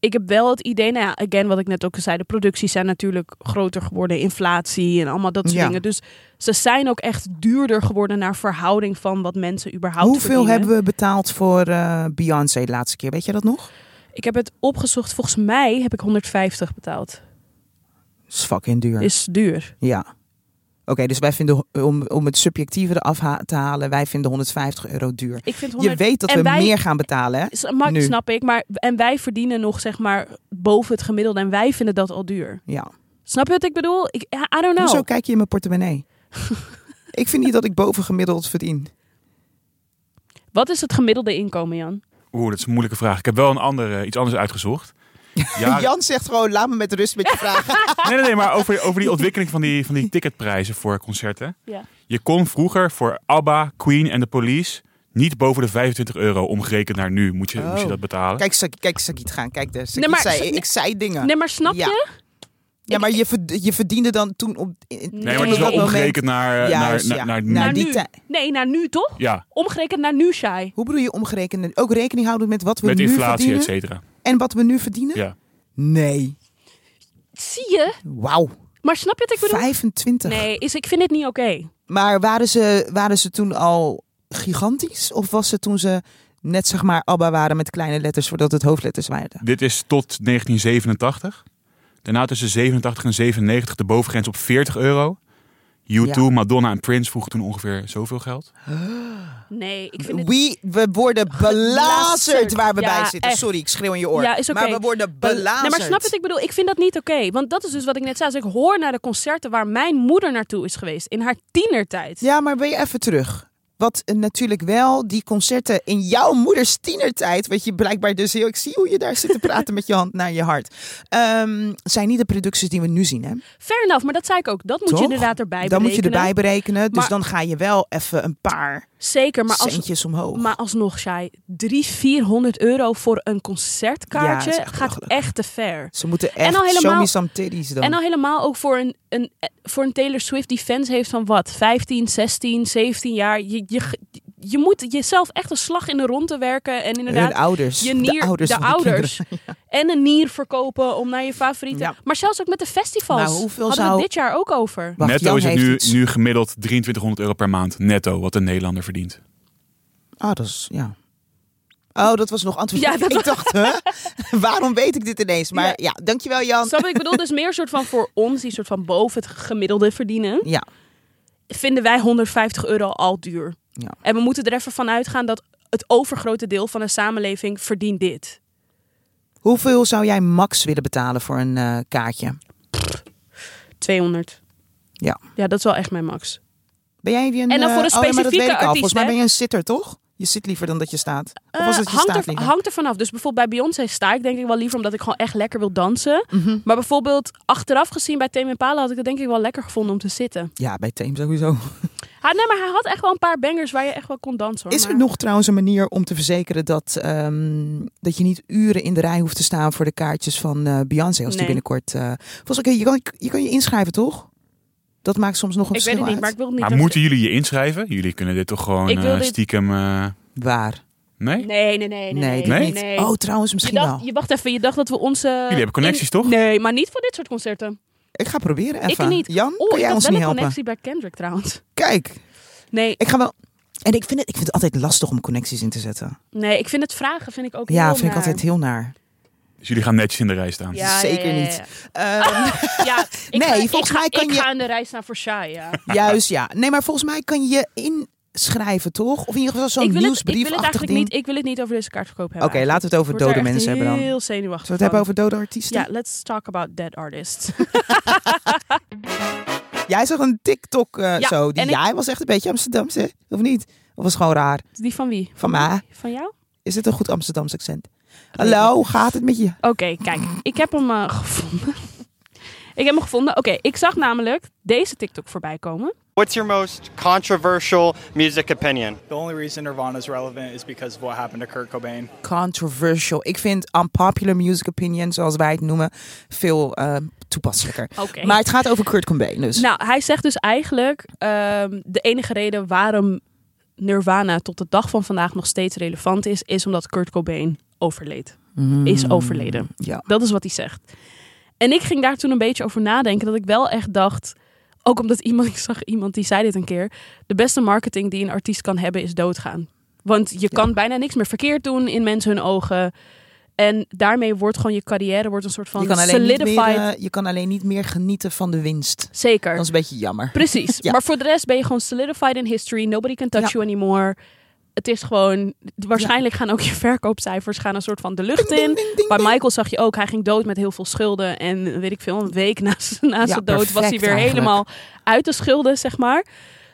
ik heb wel het idee, nou ja, again, wat ik net ook al zei, de producties zijn natuurlijk groter geworden, inflatie en allemaal dat soort
Ja.
dingen. Dus ze zijn ook echt duurder geworden naar verhouding van wat mensen überhaupt
Hoeveel hebben we betaald voor eh, Beyoncé de laatste keer? Weet je dat nog?
we? Ik heb het opgezocht, volgens mij heb ik 150 betaald.
Dat is fucking duur.
Is duur.
Ja. Oké, dus wij vinden, om, om het subjectieve eraf ha- te halen, wij vinden 150 euro duur.
Ik vind 100...
Je weet dat
en
we
wij-
meer gaan betalen, hè?
S- maar-
Nu.
Snap ik, maar en wij verdienen nog zeg maar boven het gemiddelde en wij vinden dat al duur.
Ja.
Snap je wat ik bedoel? Ik, I I don't know.
Hoezo kijk je in mijn portemonnee? ik vind niet dat ik bovengemiddeld verdien.
Wat is het gemiddelde inkomen, Jan?
Oeh, dat is een moeilijke vraag. Ik heb wel een andere, iets anders uitgezocht. Jaren-
Jan zegt gewoon, laat me met rust met je vragen.
Nee, nee, nee, maar over, over die ontwikkeling van die, van die ticketprijzen voor concerten.
Ja.
Je kon vroeger voor ABBA, Queen en de Police niet boven de 25 euro omgerekend naar nu moet je,
Oh.
moest je dat betalen.
Kijk, Sak- kijk Sakiet gaan. Kijk, daar. Sakiet
Nee, maar-
zei,
nee.
ik zei dingen.
Nee, maar snap
Ja.
je?
ja, maar je, verd- je verdiende dan toen op in- in-
nee,
ik
maar het is
op
wel
dat moment-
omgerekend naar, eh,
Juist,
naar,
ja.
naar, naar,
Naar
nu.
die
nu.
tijd.
Nee, naar nu toch?
Ja,
Omgerekend naar nu, Shai.
Hoe bedoel je omgerekend? Ook rekening houden met wat we
met
nu
inflatie, et
verdienen
cetera.
en wat we nu verdienen?
Ja.
Nee.
Zie je?
Wauw.
Maar snap je wat ik bedoel?
25.
Nee, is, ik vind dit niet oké.
Maar waren ze, waren ze toen al gigantisch? Of was het toen ze net zeg maar ABBA waren met kleine letters voordat het hoofdletters waren?
Dit is tot 1987. Daarna tussen 87 en 97 de bovengrens op 40 euro. U2,
Ja.
Madonna en Prince vroegen toen ongeveer zoveel geld.
Nee, ik vind het...
We, we worden belazerd
Belazerd.
waar we
Ja,
bij zitten.
echt.
Sorry, ik schreeuw in je oor.
Ja, is oké.
Maar we worden
Bel-
belazerd.
Nee, maar snap je wat ik bedoel? Ik vind dat niet oké. Want dat is dus wat ik net zei. Als ik hoor naar de concerten waar mijn moeder naartoe is geweest. In haar tienertijd.
Ja, maar ben je even terug? Wat eh, natuurlijk wel die concerten in jouw moeders tienertijd, wat je blijkbaar dus heel, ik zie hoe je daar zit te praten met je hand naar je hart, ehm, zijn niet de producties die we nu zien. Hè?
Fair enough, maar dat zei ik ook. Dat moet
Toch?
je inderdaad erbij
Dan moet je
berekenen.
erbij berekenen, dus
Maar-
dan ga je wel even een paar
Zeker, maar als,
centjes omhoog.
Maar alsnog, Shai, 300, 400 euro voor een concertkaartje
Ja, dat is echt
gaat
belachelijk.
echt te ver.
Ze moeten echt,
al helemaal-
show me some titties dan.
En al helemaal ook voor een, een, eh, voor een Taylor Swift die fans heeft van wat? 15, 16, 17 jaar. Je, je, je moet jezelf echt een slag in de ronde werken en
Hun
inderdaad
ouders,
je nier,
de ouders van de
ouders. en een nier verkopen om naar je favoriete.
Ja.
Maar zelfs ook met de festivals
Nou, hoeveel
hadden we
zou-
dit jaar ook over.
Wacht,
netto
Jan
is het
heeft
nu,
iets.
nu gemiddeld 2300 euro per maand netto wat een Nederlander verdient.
Ah, dat is, ja. Oh, dat was nog antwoord.
Ja, dat
ik dacht, hè? waarom weet ik dit ineens? Maar
Ja.
ja, dankjewel Jan.
Snap je? Ik bedoel dus meer soort van voor ons die soort van boven het gemiddelde verdienen.
Ja,
vinden wij 150 euro al duur.
Ja.
En we moeten er even van uitgaan dat het overgrote deel van de samenleving verdient dit.
Hoeveel zou jij max willen betalen voor een eh, kaartje?
200.
Ja.
Ja, dat is wel echt mijn max.
Ben jij een,
En dan
eh,
voor een
oh, ja, maar dat weet
specifieke
ik al.
artiest,
Volgens mij
hè?
ben je een sitter, toch? Je zit liever dan dat je staat. Of was het
Eh,
je
hangt,
staat
er,
liever?
hangt er vanaf. Dus bijvoorbeeld bij Beyoncé sta ik denk ik wel liever omdat ik gewoon echt lekker wil dansen.
Mhm.
Maar bijvoorbeeld achteraf gezien bij Tame Impala had ik het denk ik wel lekker gevonden om te zitten.
Ja, bij Team sowieso.
Ha, nee, maar hij had echt wel een paar bangers waar je echt wel kon dansen. Hoor.
Is er
Maar-
nog trouwens een manier om te verzekeren dat, ehm, dat je niet uren in de rij hoeft te staan voor de kaartjes van eh, Beyoncé als
Nee.
die binnenkort... eh, volgens mij, je kan, je kan je inschrijven, toch? Dat maakt soms nog een
Ik weet
verschil
het niet, maar
uit.
ik wil het niet.
Maar
dat-
moeten jullie je inschrijven? Jullie kunnen dit toch gewoon
Ik wil
eh,
dit-
stiekem... eh,
Waar?
nee?
Nee, nee, nee. Nee, nee,
dit
nee,
niet. Oh, trouwens,
je,
misschien
dacht,
wel.
je wacht even, je dacht dat we onze...
Jullie hebben connecties, toch?
Nee, maar niet voor dit soort concerten.
Ik ga proberen
Ik
even.
niet.
Jan, kun
Oh, ik
jij
had
ons
wel
niet helpen?
een connectie bij Kendrick trouwens.
Kijk,
Nee,
ik ga wel... En ik vind, het, ik vind het altijd lastig om connecties in te zetten.
nee, ik vind het vragen vind ik ook
Ja,
heel
vind ik
naar.
altijd heel naar.
Dus jullie gaan netjes in de rij staan.
Ja,
Zeker
ja, ja, ja.
niet. Ehm,
Ja, ik
Nee,
ga, ik
volgens
ga,
mij kan
ik
je-
ga aan de rij staan voor Shai, ja.
juist, ja. Nee, maar volgens mij kan je inschrijven, toch? Of in ieder geval
ik
zo'n
wil het, ik
nieuwsbrief
wil het eigenlijk niet, ik wil het niet over deze kaartverkoop hebben.
Oké, laten we het over dode mensen hebben dan. Zullen
heel zenuwachtig
we het hebben over dode artiesten?
Ja, let's talk about dead artists.
Jij zag een TikTok eh,
Ja,
zo. Die
en ik-
jij was echt een beetje Amsterdamse, of niet? Of was gewoon raar?
Die van wie?
Van mij.
Van jou?
Is dit een goed Amsterdamse accent? Hallo, hoe gaat het met je?
Oké, kijk. Ik heb hem eh, gevonden. ik heb hem gevonden. Oké, ik zag namelijk deze TikTok voorbij komen.
What's your most controversial music opinion?
The only reason Nirvana is relevant is because of what happened to Kurt Cobain.
Controversial. Ik vind unpopular music opinion, zoals wij het noemen, veel eh, toepasselijker.
Oké.
Maar het gaat over Kurt Cobain, dus.
Nou, hij zegt dus eigenlijk ehm, de enige reden waarom Nirvana tot de dag van vandaag nog steeds relevant is, is omdat Kurt Cobain overleed.
Mm.
Is overleden.
ja.
Dat is wat hij zegt. En ik ging daar toen een beetje over nadenken, dat ik wel echt dacht, ook omdat iemand, ik zag iemand die zei dit een keer, de beste marketing die een artiest kan hebben is doodgaan. Want je kan bijna niks meer verkeerd doen in mensen hun ogen. En daarmee wordt gewoon je carrière wordt een soort van
je, kan alleen niet
solidified.
meer, eh, je kan alleen niet meer genieten van de winst.
Zeker.
Dat is een beetje jammer.
Precies.
Ja.
Maar voor de rest ben je gewoon solidified in history. Nobody can
Ja.
touch you anymore. Het is gewoon... Waarschijnlijk gaan ook je verkoopcijfers gaan een soort van de lucht in. Bij Michael zag je ook, hij ging dood met heel veel schulden. En weet ik veel, een week na, z- na zijn dood was hij
perfect
weer
eigenlijk.
helemaal uit de schulden, zeg maar.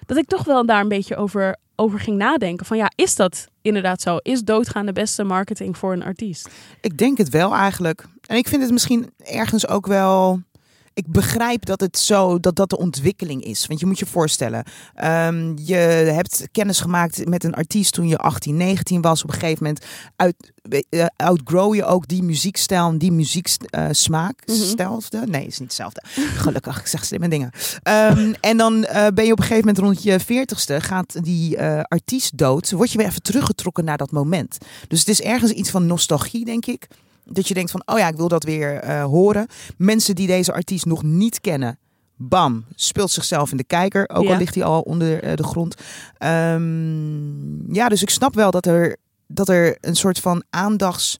Dat ik toch wel daar een beetje over, over ging nadenken. Van ja, is dat inderdaad zo? Is doodgaan de beste marketing voor een artiest?
Ik denk het wel eigenlijk. En ik vind het misschien ergens ook wel. Ik begrijp dat het zo dat dat de ontwikkeling is. Want je moet je voorstellen, ehm, je hebt kennis gemaakt met een artiest toen je 18, 19 was. Op een gegeven moment uit, eh, outgrow je ook die muziekstijl, en die muzieksmaak.
Mhm.
Hetzelfde? Nee, is niet hetzelfde. Gelukkig, ik zeg slimme dingen. Ehm, en dan eh, ben je op een gegeven moment rond je 40ste, gaat die eh, artiest dood, word je weer even teruggetrokken naar dat moment. Dus het is ergens iets van nostalgie, denk ik. Dat je denkt van, oh ja, ik wil dat weer eh, horen. Mensen die deze artiest nog niet kennen, Bam, speelt zichzelf in de kijker. Ook
Ja.
al ligt hij al onder eh, de grond. Ehm, ja, dus ik snap wel dat er, dat er een soort van aandachts,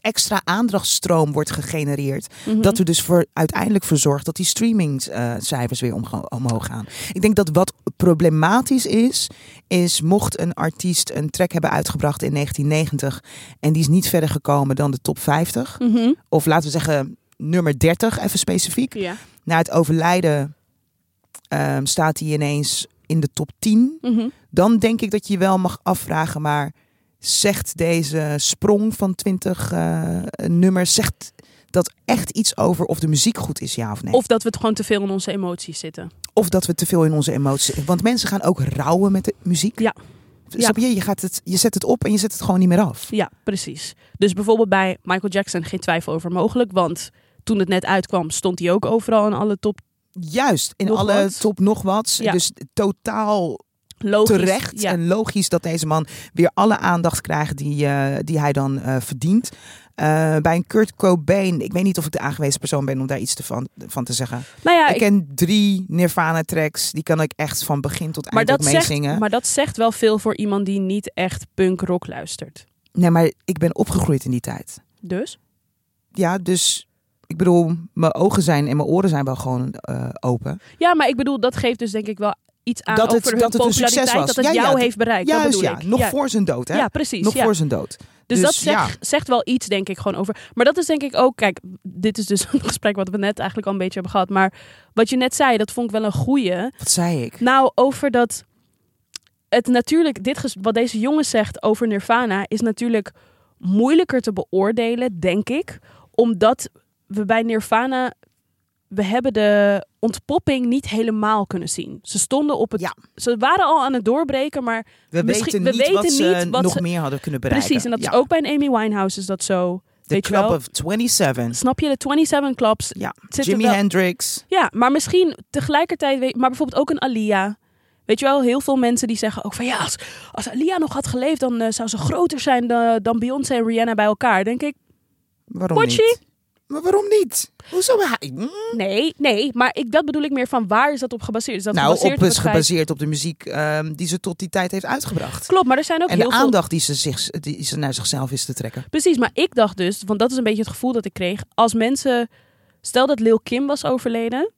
extra aandachtstroom wordt gegenereerd. Dat
Mm-hmm.
er dus voor, uiteindelijk voor zorgt dat die streamingcijfers weer omga- omhoog gaan. Ik denk dat wat problematisch is, is mocht een artiest een track hebben uitgebracht in 1990 en die is niet verder gekomen dan de top 50,
Mhm.
of laten we zeggen nummer 30 even specifiek.
Ja.
Na het overlijden ehm, staat hij ineens in de top 10
Mhm.
dan denk ik dat je je wel mag afvragen, maar zegt deze sprong van 20 eh, nummers, zegt dat echt iets over of de muziek goed is, ja of nee?
Of dat we het gewoon te veel in onze emoties zitten.
Of dat we te veel in onze emoties. Want mensen gaan ook rouwen met de muziek.
Ja.
Snap je? Je, gaat het, je zet het op en je zet het gewoon niet meer af.
Ja, precies. Dus bijvoorbeeld bij Michael Jackson geen twijfel over mogelijk. Want toen het net uitkwam, stond hij ook overal in alle top
Juist, in
Nog
alle
wat.
top nog wat.
Ja.
Dus totaal
logisch.
terecht
Ja.
en logisch dat deze man weer alle aandacht krijgt die, eh, die hij dan eh, verdient. Eh, bij een Kurt Cobain, ik weet niet of ik de aangewezen persoon ben om daar iets te van, van te zeggen.
Nou ja,
ik
ik-
ken drie Nirvana tracks, die kan ik echt van begin tot
maar,
eind
dat
ook meezingen.
zegt, maar dat zegt wel veel voor iemand die niet echt punk rock luistert.
Nee, maar ik ben opgegroeid in die tijd.
Dus?
Ja, dus ik bedoel, mijn ogen zijn en mijn oren zijn wel gewoon eh, open.
Ja, maar ik bedoel, dat geeft dus denk ik wel iets aan
Dat het-
over hun
dat het een succes
populariteit,
was.
Dat het
Ja, ja,
jou
dat-
heeft bereikt. dat
Juist,
bedoel
ja.
ik.
Nog
ja.
voor zijn dood, hè?
Ja, precies.
nog
ja.
voor zijn dood.
Dus, dat
Dus
zegt,
ja.
zegt wel iets, denk ik, gewoon over. Maar dat is denk ik ook, kijk, dit is dus een gesprek wat we net eigenlijk al een beetje hebben gehad. Maar wat je net zei, dat vond ik wel een goeie.
Wat zei ik?
Nou, over dat. Het natuurlijk, dit ges- wat deze jongen zegt over Nirvana, is natuurlijk moeilijker te beoordelen, denk ik. Omdat we bij Nirvana. We hebben de ontpopping niet helemaal kunnen zien. Ze stonden op het.
Ja.
Ze waren al aan het doorbreken, maar
We
misschien-
weten
we
niet wat
weten
ze
niet wat
nog
ze-
meer hadden kunnen bereiken.
precies. En dat
Ja.
is ook bij een Amy Winehouse is dat zo.
De
weet je wel.
Club of 27.
Snap je de 27 clubs?
Ja,
Zitten
Jimi
wel-
Hendrix.
Ja, maar misschien tegelijkertijd, weet- maar bijvoorbeeld ook een Alia. Weet je wel, heel veel mensen die zeggen ook van ja, als, als Alia nog had geleefd, dan eh, zou ze groter zijn dan, dan Beyoncé en Rihanna bij elkaar. Denk ik,
Waarom
Pochi?
niet? Maar waarom niet? Hoezo? hij- Mm.
nee, nee, maar ik, dat bedoel ik meer van waar is dat op gebaseerd? Is dat
Nou,
gebaseerd
op, is
het feit-
gebaseerd op de muziek ehm, die ze tot die tijd heeft uitgebracht.
Klopt, maar er zijn ook
En
heel
de
veel...
aandacht die ze, zich, die ze naar zichzelf is te trekken.
Precies, maar ik dacht dus, want dat is een beetje het gevoel dat ik kreeg. Als mensen, stel dat Lil Kim was overleden,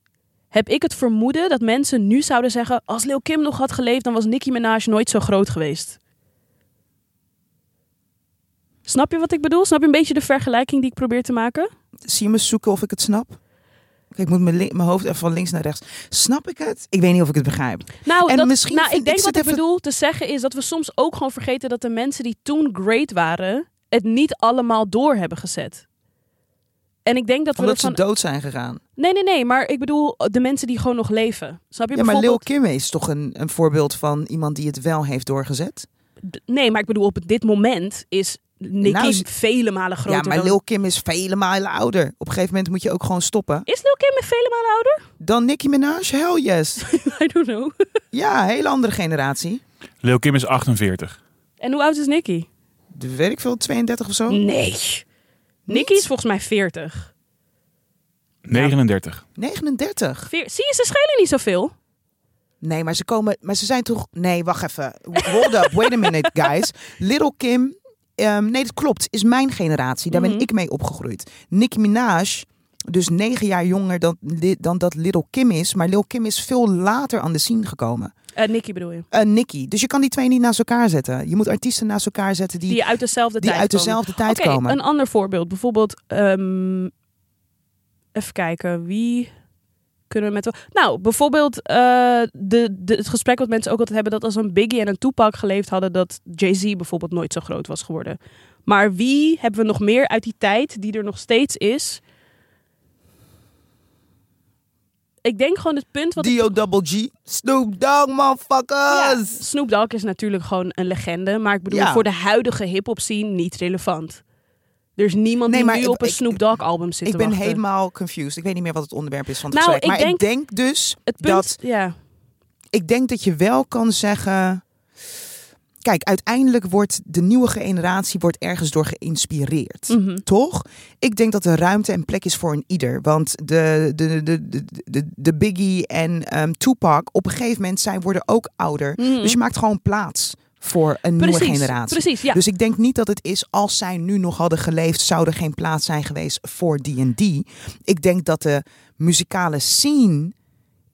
heb ik het vermoeden dat mensen nu zouden zeggen: als Lil Kim nog had geleefd, dan was Nicki Minaj nooit zo groot geweest. Snap je wat ik bedoel? Snap je een beetje de vergelijking die ik probeer te maken?
Zie je me zoeken of ik het snap? Kijk, ik moet mijn, link- mijn hoofd even van links naar rechts. Snap ik het? Ik weet niet of ik het begrijp.
Nou,
En
dat,
misschien
nou
vind
ik denk
ik
wat
zit
ik
even-
bedoel te zeggen is dat we soms ook gewoon vergeten dat de mensen die toen great waren, het niet allemaal door hebben gezet. En ik denk dat we
Omdat
dat
ze
van
dood zijn gegaan.
Nee, nee, nee. Maar ik bedoel eh, de mensen die gewoon nog leven. Snap je?
Ja, maar Lil
Bijvoorbeeld-
Kim is toch een, een voorbeeld van iemand die het wel heeft doorgezet?
D- Nee, maar ik bedoel op dit moment is Nicki
Nou is-
vele malen groter
ja, maar
dan...
Lil Kim is vele malen ouder. Op een gegeven moment moet je ook gewoon stoppen.
Is Lil Kim vele malen ouder?
Dan Nicki Minaj? Hell yes.
I don't know.
ja, hele andere generatie.
Lil Kim is 48.
En hoe oud is Nicki?
weet ik veel, 32 of zo?
Nee. Nicki is volgens mij 40.
39.
39.
Veer- Zie je, ze schelen niet zoveel.
Nee, maar ze komen, maar ze zijn toch. Nee, wacht even. Hold up, wait a minute, guys. Little Kim. ehm, nee, dat klopt. Is mijn generatie. Daar
Mhm.
ben ik mee opgegroeid. Nicki Minaj, dus negen jaar jonger dan, li- dan dat Little Kim is. Maar Lil Kim is veel later aan de scene gekomen.
Eh Nicki bedoel je.
Eh Nicki. Dus je kan die twee niet naast elkaar zetten. Je moet artiesten naast elkaar zetten die,
Die uit dezelfde
die
tijd
uit
komen.
dezelfde tijd
Oké,
komen.
een ander voorbeeld. Bijvoorbeeld, ehm, even kijken, wie kunnen we met... Nou, bijvoorbeeld eh, de, de, het gesprek wat mensen ook altijd hebben... dat als een Biggie en een Tupac geleefd hadden... dat Jay-Z bijvoorbeeld nooit zo groot was geworden. Maar wie hebben we nog meer uit die tijd die er nog steeds is... Ik denk gewoon het punt wat ik
Dio Double G. Snoop Dogg,
ja,
motherfuckers.
Snoop Dogg is natuurlijk gewoon een legende, maar ik bedoel
Ja.
voor de huidige hip-hop scene niet relevant. Er is niemand
Nee,
die
maar
nu
ik-
op een
ik-
Snoop Dogg album zit
Ik
te
ben
wachten.
helemaal confused. Ik weet niet meer wat het onderwerp is van het
Nou,
gesprek.
ik
Maar
denk-
ik denk dus
het punt,
dat
ja.
ik denk dat je wel kan zeggen. kijk, uiteindelijk wordt de nieuwe generatie wordt ergens door geïnspireerd.
Mhm.
Toch? Ik denk dat er ruimte en plek is voor een ieder. Want de, de, de, de, de, de Biggie en ehm, Tupac, op een gegeven moment, zij worden ook ouder. Dus je maakt gewoon plaats voor een nieuwe
Mhm. Precies,
generatie.
precies, ja.
Dus ik denk niet dat het is als zij nu nog hadden geleefd, zou er geen plaats zijn geweest voor die en die. Ik denk dat de muzikale scene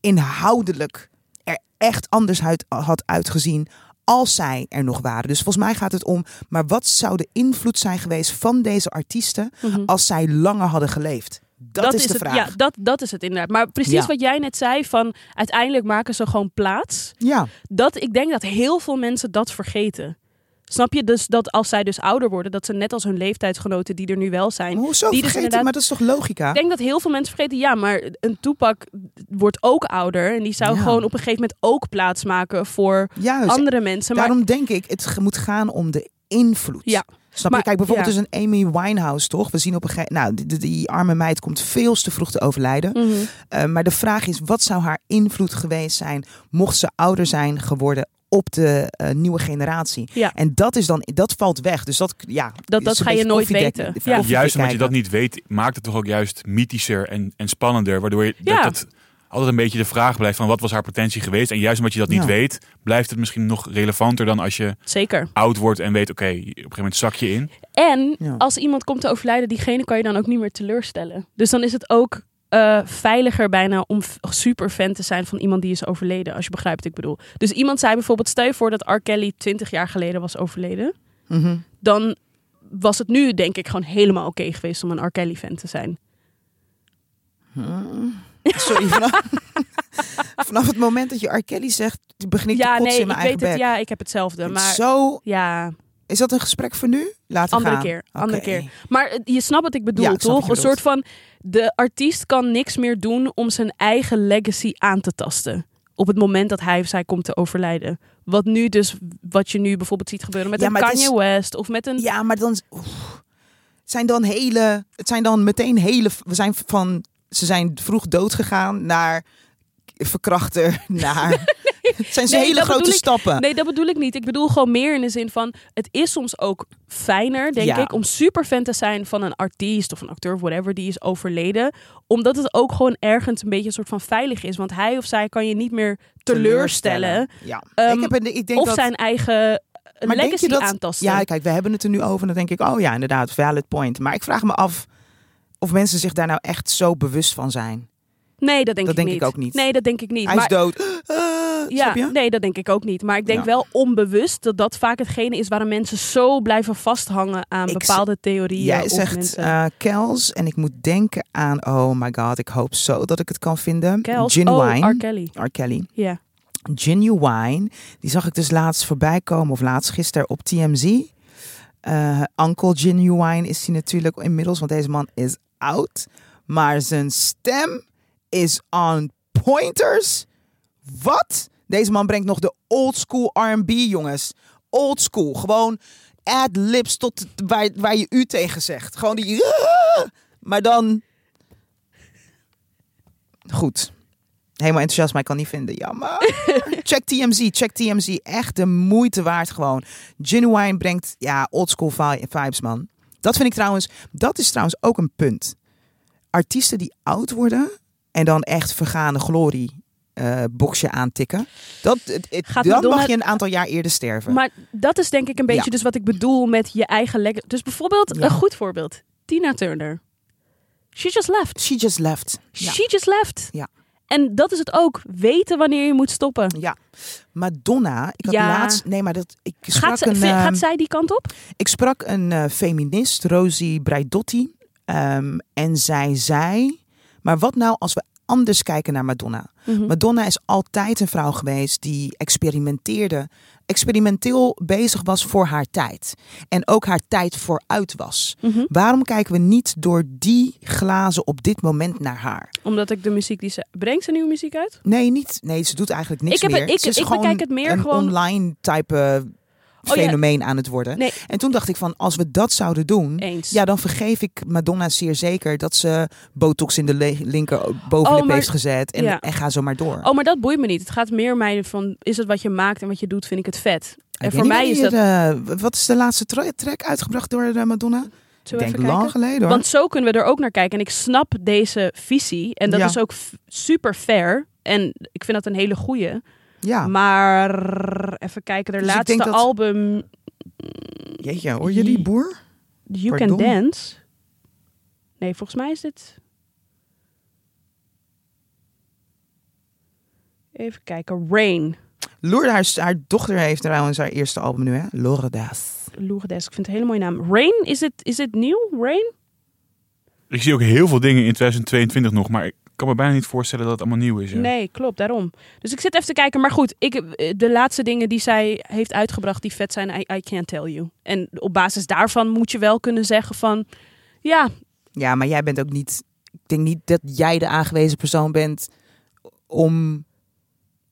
inhoudelijk er echt anders uit, had uitgezien als zij er nog waren. Dus volgens mij gaat het om, maar wat zou de invloed zijn geweest van deze artiesten als zij langer hadden geleefd? Dat, is, de
het,
vraag.
Ja, Mhm. dat, dat is het inderdaad. Maar precies
Ja.
wat jij net zei, van uiteindelijk maken ze gewoon plaats.
ja.
Dat ik denk dat heel veel mensen dat vergeten. Snap je dus dat als zij dus ouder worden, dat ze net als hun leeftijdsgenoten die er nu wel zijn,
Maar hoezo
die dus
vergeten?
inderdaad
Maar dat is toch logica?
Ik denk dat heel veel mensen vergeten, ja, maar een toepak wordt ook ouder. En die zou
Ja.
gewoon op een gegeven moment ook plaatsmaken voor
Juist.
andere mensen. Maar
Daarom denk ik, het ge- moet gaan om de invloed.
Ja.
Snap
Maar-
je? Kijk, bijvoorbeeld
ja.
dus een Amy Winehouse, toch? We zien op een gegeven nou, die, die- die arme meid komt veel te vroeg te overlijden.
Mhm.
Eh, maar de vraag is, wat zou haar invloed geweest zijn mocht ze ouder zijn geworden op de eh, nieuwe generatie?
Ja.
En dat is dan, dat valt weg. Dus dat, ja,
dat
is een
ga je
beetje
nooit
koffiedek-
weten.
koffie
Ja.
kijken.
Juist omdat je dat niet weet, maakt het toch ook juist mythischer en, en spannender. Waardoor je
Ja.
dat, dat altijd een beetje de vraag blijft van wat was haar potentie geweest. En juist omdat je dat niet
Ja.
weet, blijft het misschien nog relevanter dan als je
zeker.
oud wordt en weet, oké, op een gegeven moment zak je in.
En
Ja.
als iemand komt te overlijden, diegene kan je dan ook niet meer teleurstellen. Dus dan is het ook eh, veiliger bijna om f- super fan te zijn van iemand die is overleden, als je begrijpt wat ik bedoel. Dus iemand zei bijvoorbeeld, stel je voor dat R. Kelly 20 jaar geleden was overleden.
Mhm.
Dan was het nu denk ik gewoon helemaal oké geweest om een R. Kelly fan te zijn.
Sorry, vanaf, vanaf het moment dat je R. Kelly zegt, begin ik te
ja,
kotsen
nee,
in
ik
mijn
weet
eigen
het.
bek.
Ja, ik heb hetzelfde. Maar
Zo,
ja,
is dat een gesprek voor nu? Later
andere
gaan.
keer. Andere
Oké.
keer. Maar eh, je snapt wat ik bedoel,
Ja, ik snap
toch?
wat je
Een soort van de artiest kan niks meer doen om zijn eigen legacy aan te tasten. Op het moment dat hij of zij komt te overlijden. Wat nu dus, wat je nu bijvoorbeeld ziet gebeuren met
Ja,
een
maar het
Kanye
is-
West of met een.
Ja, maar dan oef. Het zijn dan hele. Het zijn dan meteen hele. We zijn van. Ze zijn vroeg dood gegaan naar verkrachter naar. het zijn ze
nee,
hele
dat
grote
bedoel ik.
stappen.
Nee, dat bedoel ik niet. Ik bedoel gewoon meer in de zin van, het is soms ook fijner, denk
Ja.
ik, om super fan te zijn van een artiest of een acteur of whatever die is overleden. Omdat het ook gewoon ergens een beetje een soort van veilig is. Want hij of zij kan je niet meer teleurstellen.
Ja.
Ehm,
ik, heb, een- ik denk
of
dat,
zijn eigen eh,
maar denk
legacy
je dat,
aantasten.
Ja, kijk, we hebben het er nu over. En dan denk ik, oh ja, inderdaad, valid point. Maar ik vraag me af of mensen zich daar nou echt zo bewust van zijn.
nee, dat denk,
dat
ik,
denk ik
niet.
ook niet.
Nee, dat denk ik niet.
Hij is
maar,
dood. Eh, snap je?
ja, nee, dat denk ik ook niet. Maar ik denk
Ja.
wel onbewust dat dat vaak hetgene is waarom mensen zo blijven vasthangen aan
Ik z-
bepaalde theorieën.
Jij
of
zegt
mensen.
eh Kels en ik moet denken aan, oh my god, ik hoop zo dat ik het kan vinden.
Kels,
eh, Gin
oh,
Wine.
R. Kelly.
R. Kelly.
Ja.
Genuine. Die zag ik dus laatst voorbij komen, of laatst gisteren op TMZ. Eh Uncle Genuine is hij natuurlijk inmiddels, want deze man is oud. Maar zijn stem is on pointers. Wat? Deze man brengt nog de old school R&B, jongens. Old school. Gewoon ad lips tot waar, waar je u tegen zegt. Gewoon die... Maar dan... Goed. Helemaal enthousiast, maar ik kan niet vinden. Jammer. check TMZ, check TMZ. Echt de moeite waard gewoon. Genuine brengt ja, oldschool vi- vibes, man. Dat vind ik trouwens, dat is trouwens ook een punt. Artiesten die oud worden en dan echt vergane glorie eh boxje aantikken. Dat, het, het-
Gaat
dan
Madonna-
mag je een aantal jaar eerder sterven.
Maar dat is denk ik een beetje
Ja.
dus wat ik bedoel met je eigen legacy. Dus bijvoorbeeld,
Ja.
een goed voorbeeld. Tina Turner. She just left.
She just left. Ja.
She just left.
Ja.
En dat is het ook. Weten wanneer je moet stoppen.
ja. Madonna, ik had
Ja.
laatst... Nee, maar dat, ik sprak
Gaat, ze-
een...
vi-
ehm,
gaat zij die kant op?
Ik sprak een eh, feminist, Rosie Braidotti. ehm, en zij zei. Maar wat nou als we anders kijken naar Madonna?
Mhm.
Madonna is altijd een vrouw geweest die experimenteerde. Experimenteel bezig was voor haar tijd. En ook haar tijd vooruit was.
Mhm.
Waarom kijken we niet door die glazen op dit moment naar haar?
Omdat ik de muziek die ze... Brengt ze nieuwe muziek uit?
Nee, niet. Nee, ze doet eigenlijk niks
Ik heb-
meer.
ik-
ze is
ik
gewoon
bekijk het meer
een
gewoon- Oh
online type
ja.
fenomeen aan het worden.
Nee.
En toen dacht ik van, als we dat zouden doen,
Eens.
ja, dan vergeef ik Madonna zeer zeker dat ze botox in de le- linker eh, bovenlip
Oh, maar-
heeft gezet en,
ja.
en ga zo maar door.
Oh, maar dat boeit me niet. Het gaat meer mij van, is het wat je maakt en wat je doet, vind ik het vet. En voor mij is dat...
wat is de laatste tra- track uitgebracht door eh, Madonna? Ik
Zullen we
denk
even
lang
kijken?
geleden hoor.
Want zo kunnen we er ook naar kijken. En ik snap deze visie. En dat
Ja.
is ook f- super fair. En ik vind dat een hele goeie.
ja.
Maar even kijken, haar
Dus ik
laatste
denk dat-
album...
Jeetje, hoor je die boer?
You
Pardon?
Can Dance. Nee, volgens mij is dit. Even kijken. Rain.
Lourdes, haar, haar dochter heeft trouwens haar eerste album nu, hè? Lourdes.
Lourdes. Ik vind het een hele mooie naam. Rain? Is dit, is dit nieuw? Rain?
Ik zie ook heel veel dingen in 2022 nog, maar ik kan me bijna niet voorstellen dat het allemaal nieuw is. ja.
Nee, klopt. Daarom. Dus ik zit even te kijken. Maar goed, ik, eh, de laatste dingen die zij heeft uitgebracht die vet zijn, I, I can't tell you. En op basis daarvan moet je wel kunnen zeggen van... Ja,
Ja, maar jij bent ook niet. Ik denk niet dat jij de aangewezen persoon bent om.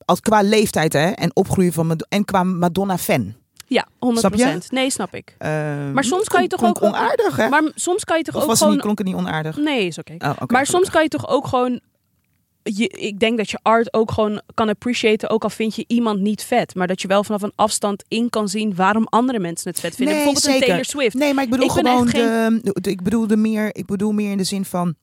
Als qua leeftijd hè, en opgroeien van Mad- en qua Madonna-fan.
ja 100%.
Snap
Nee, snap ik.
Eh,
Maar soms kan je toch
klonk
ook wel-
onaardig, hè?
Maar soms kan je toch
of
ook
was het
gewoon...
niet, klonk het niet onaardig?
Nee, is oké.
Oh, oké,
maar soms
gelukkig.
kan je toch ook gewoon. Je, ik denk dat je art ook gewoon kan appreciëten, ook al vind je iemand niet vet. Maar dat je wel vanaf een afstand in kan zien waarom andere mensen het vet vinden.
Nee,
Bijvoorbeeld een
zeker.
Taylor Swift.
Nee, maar ik bedoel
Ik ben
gewoon.
echt geen-
De, de- ik, bedoelde meer, ik bedoel meer in de zin van.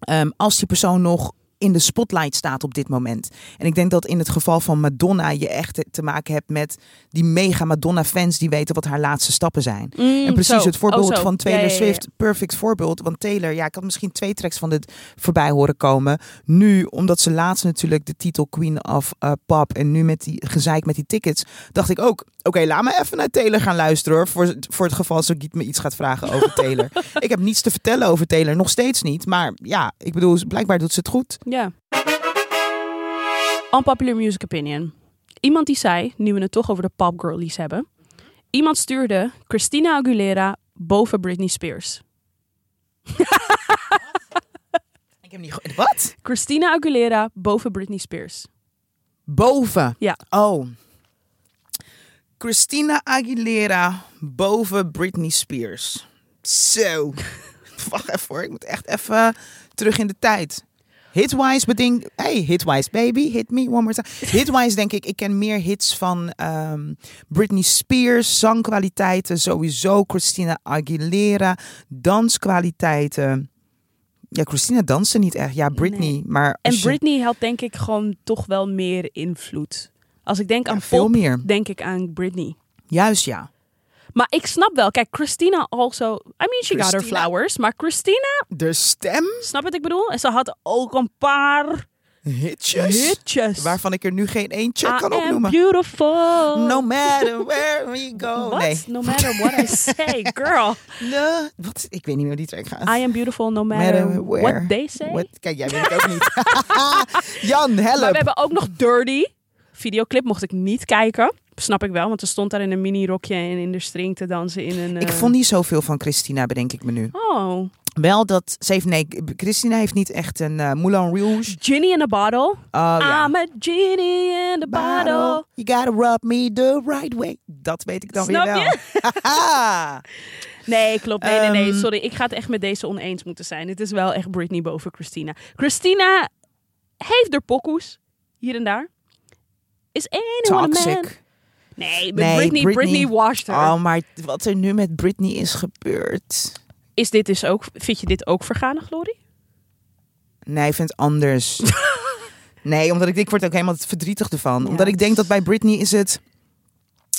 ehm, als die persoon nog in de spotlight staat op dit moment. En ik denk dat in het geval van Madonna je echt te maken hebt met die mega Madonna-fans die weten wat haar laatste stappen zijn.
Mm,
En precies
zo.
het voorbeeld
Oh, zo.
van Taylor
Ja, ja, ja, ja.
Swift, perfect voorbeeld. Want Taylor, ja, ik had misschien twee tracks van dit voorbij horen komen. Nu, omdat ze laatst natuurlijk de titel Queen of eh, Pop en nu met die gezeik met die tickets, dacht ik ook, oké, laat me even naar Taylor gaan luisteren hoor. Voor, voor het geval ze me iets gaat vragen over Taylor. ik heb niets te vertellen over Taylor, nog steeds niet. Maar ja, ik bedoel, blijkbaar doet ze het goed.
Ja. Unpopular music opinion. Iemand die zei, nu we het toch over de popgirlies hebben. Iemand stuurde Christina Aguilera boven Britney Spears.
Ik heb niet ge- Wat?
Christina Aguilera boven Britney Spears.
Boven.
Ja.
Oh. Christina Aguilera boven Britney Spears. Zo. Wacht even hoor, ik moet echt even terug in de tijd. Hitwise beding... Hey, Hitwise baby, hit me one more time. Hitwise denk ik, ik ken meer hits van ehm, Britney Spears, zangkwaliteiten sowieso. Christina Aguilera, danskwaliteiten. Ja, Christina danste niet echt. Ja, Britney,
Nee.
maar...
En
als je-
Britney had denk ik gewoon toch wel meer invloed. Als ik denk
Ja,
aan
veel
pop,
meer.
denk ik aan Britney.
Juist, ja.
Maar ik snap wel. Kijk, Christina also... I mean, she got her
Christina.
flowers. Maar Christina,
De stem?
snap wat ik bedoel? En ze had ook een paar
Hitjes?
hitjes.
Waarvan ik er nu geen eentje
I
kan
am
opnoemen.
beautiful.
No matter where we go.
What?
Nee.
No matter what I say, girl.
No. Wat? Ik weet niet meer hoe die track gaat.
I am beautiful no matter, what they say.
What? Kijk, jij weet het ook niet. Jan, help.
Maar we hebben ook nog Dirty. Videoclip mocht ik niet kijken. Snap ik wel, want ze stond daar in een mini-rokje en in de string te dansen in een...
Ik
eh,
vond niet zoveel van Christina, bedenk ik me nu.
Oh.
Wel dat ze heeft, nee, Christina heeft niet echt een eh, Moulin Rouge.
Ginny in a bottle.
Oh, ja.
I'm a genie in a bottle.
You gotta rub me the right way. Dat weet ik dan
Snap
weer wel.
je?
Haha.
Nee, klopt. Nee, nee, nee.
Ehm.
Sorry, ik ga het echt met deze oneens moeten zijn. Het is wel echt Britney boven Christina. Christina heeft er pokoes. Hier en daar. Is anyone a man?
Toxic.
Nee,
Nee,
Britney, Britney,
Britney.
washed her.
Oh, maar wat er nu met Britney is gebeurd.
Is dit dus ook, vind je dit ook vergane glorie?
Nee, ik vind het anders. nee, omdat ik, ik word ook helemaal verdrietig ervan.
Ja,
omdat ik
het
denk
is-
dat bij Britney is het...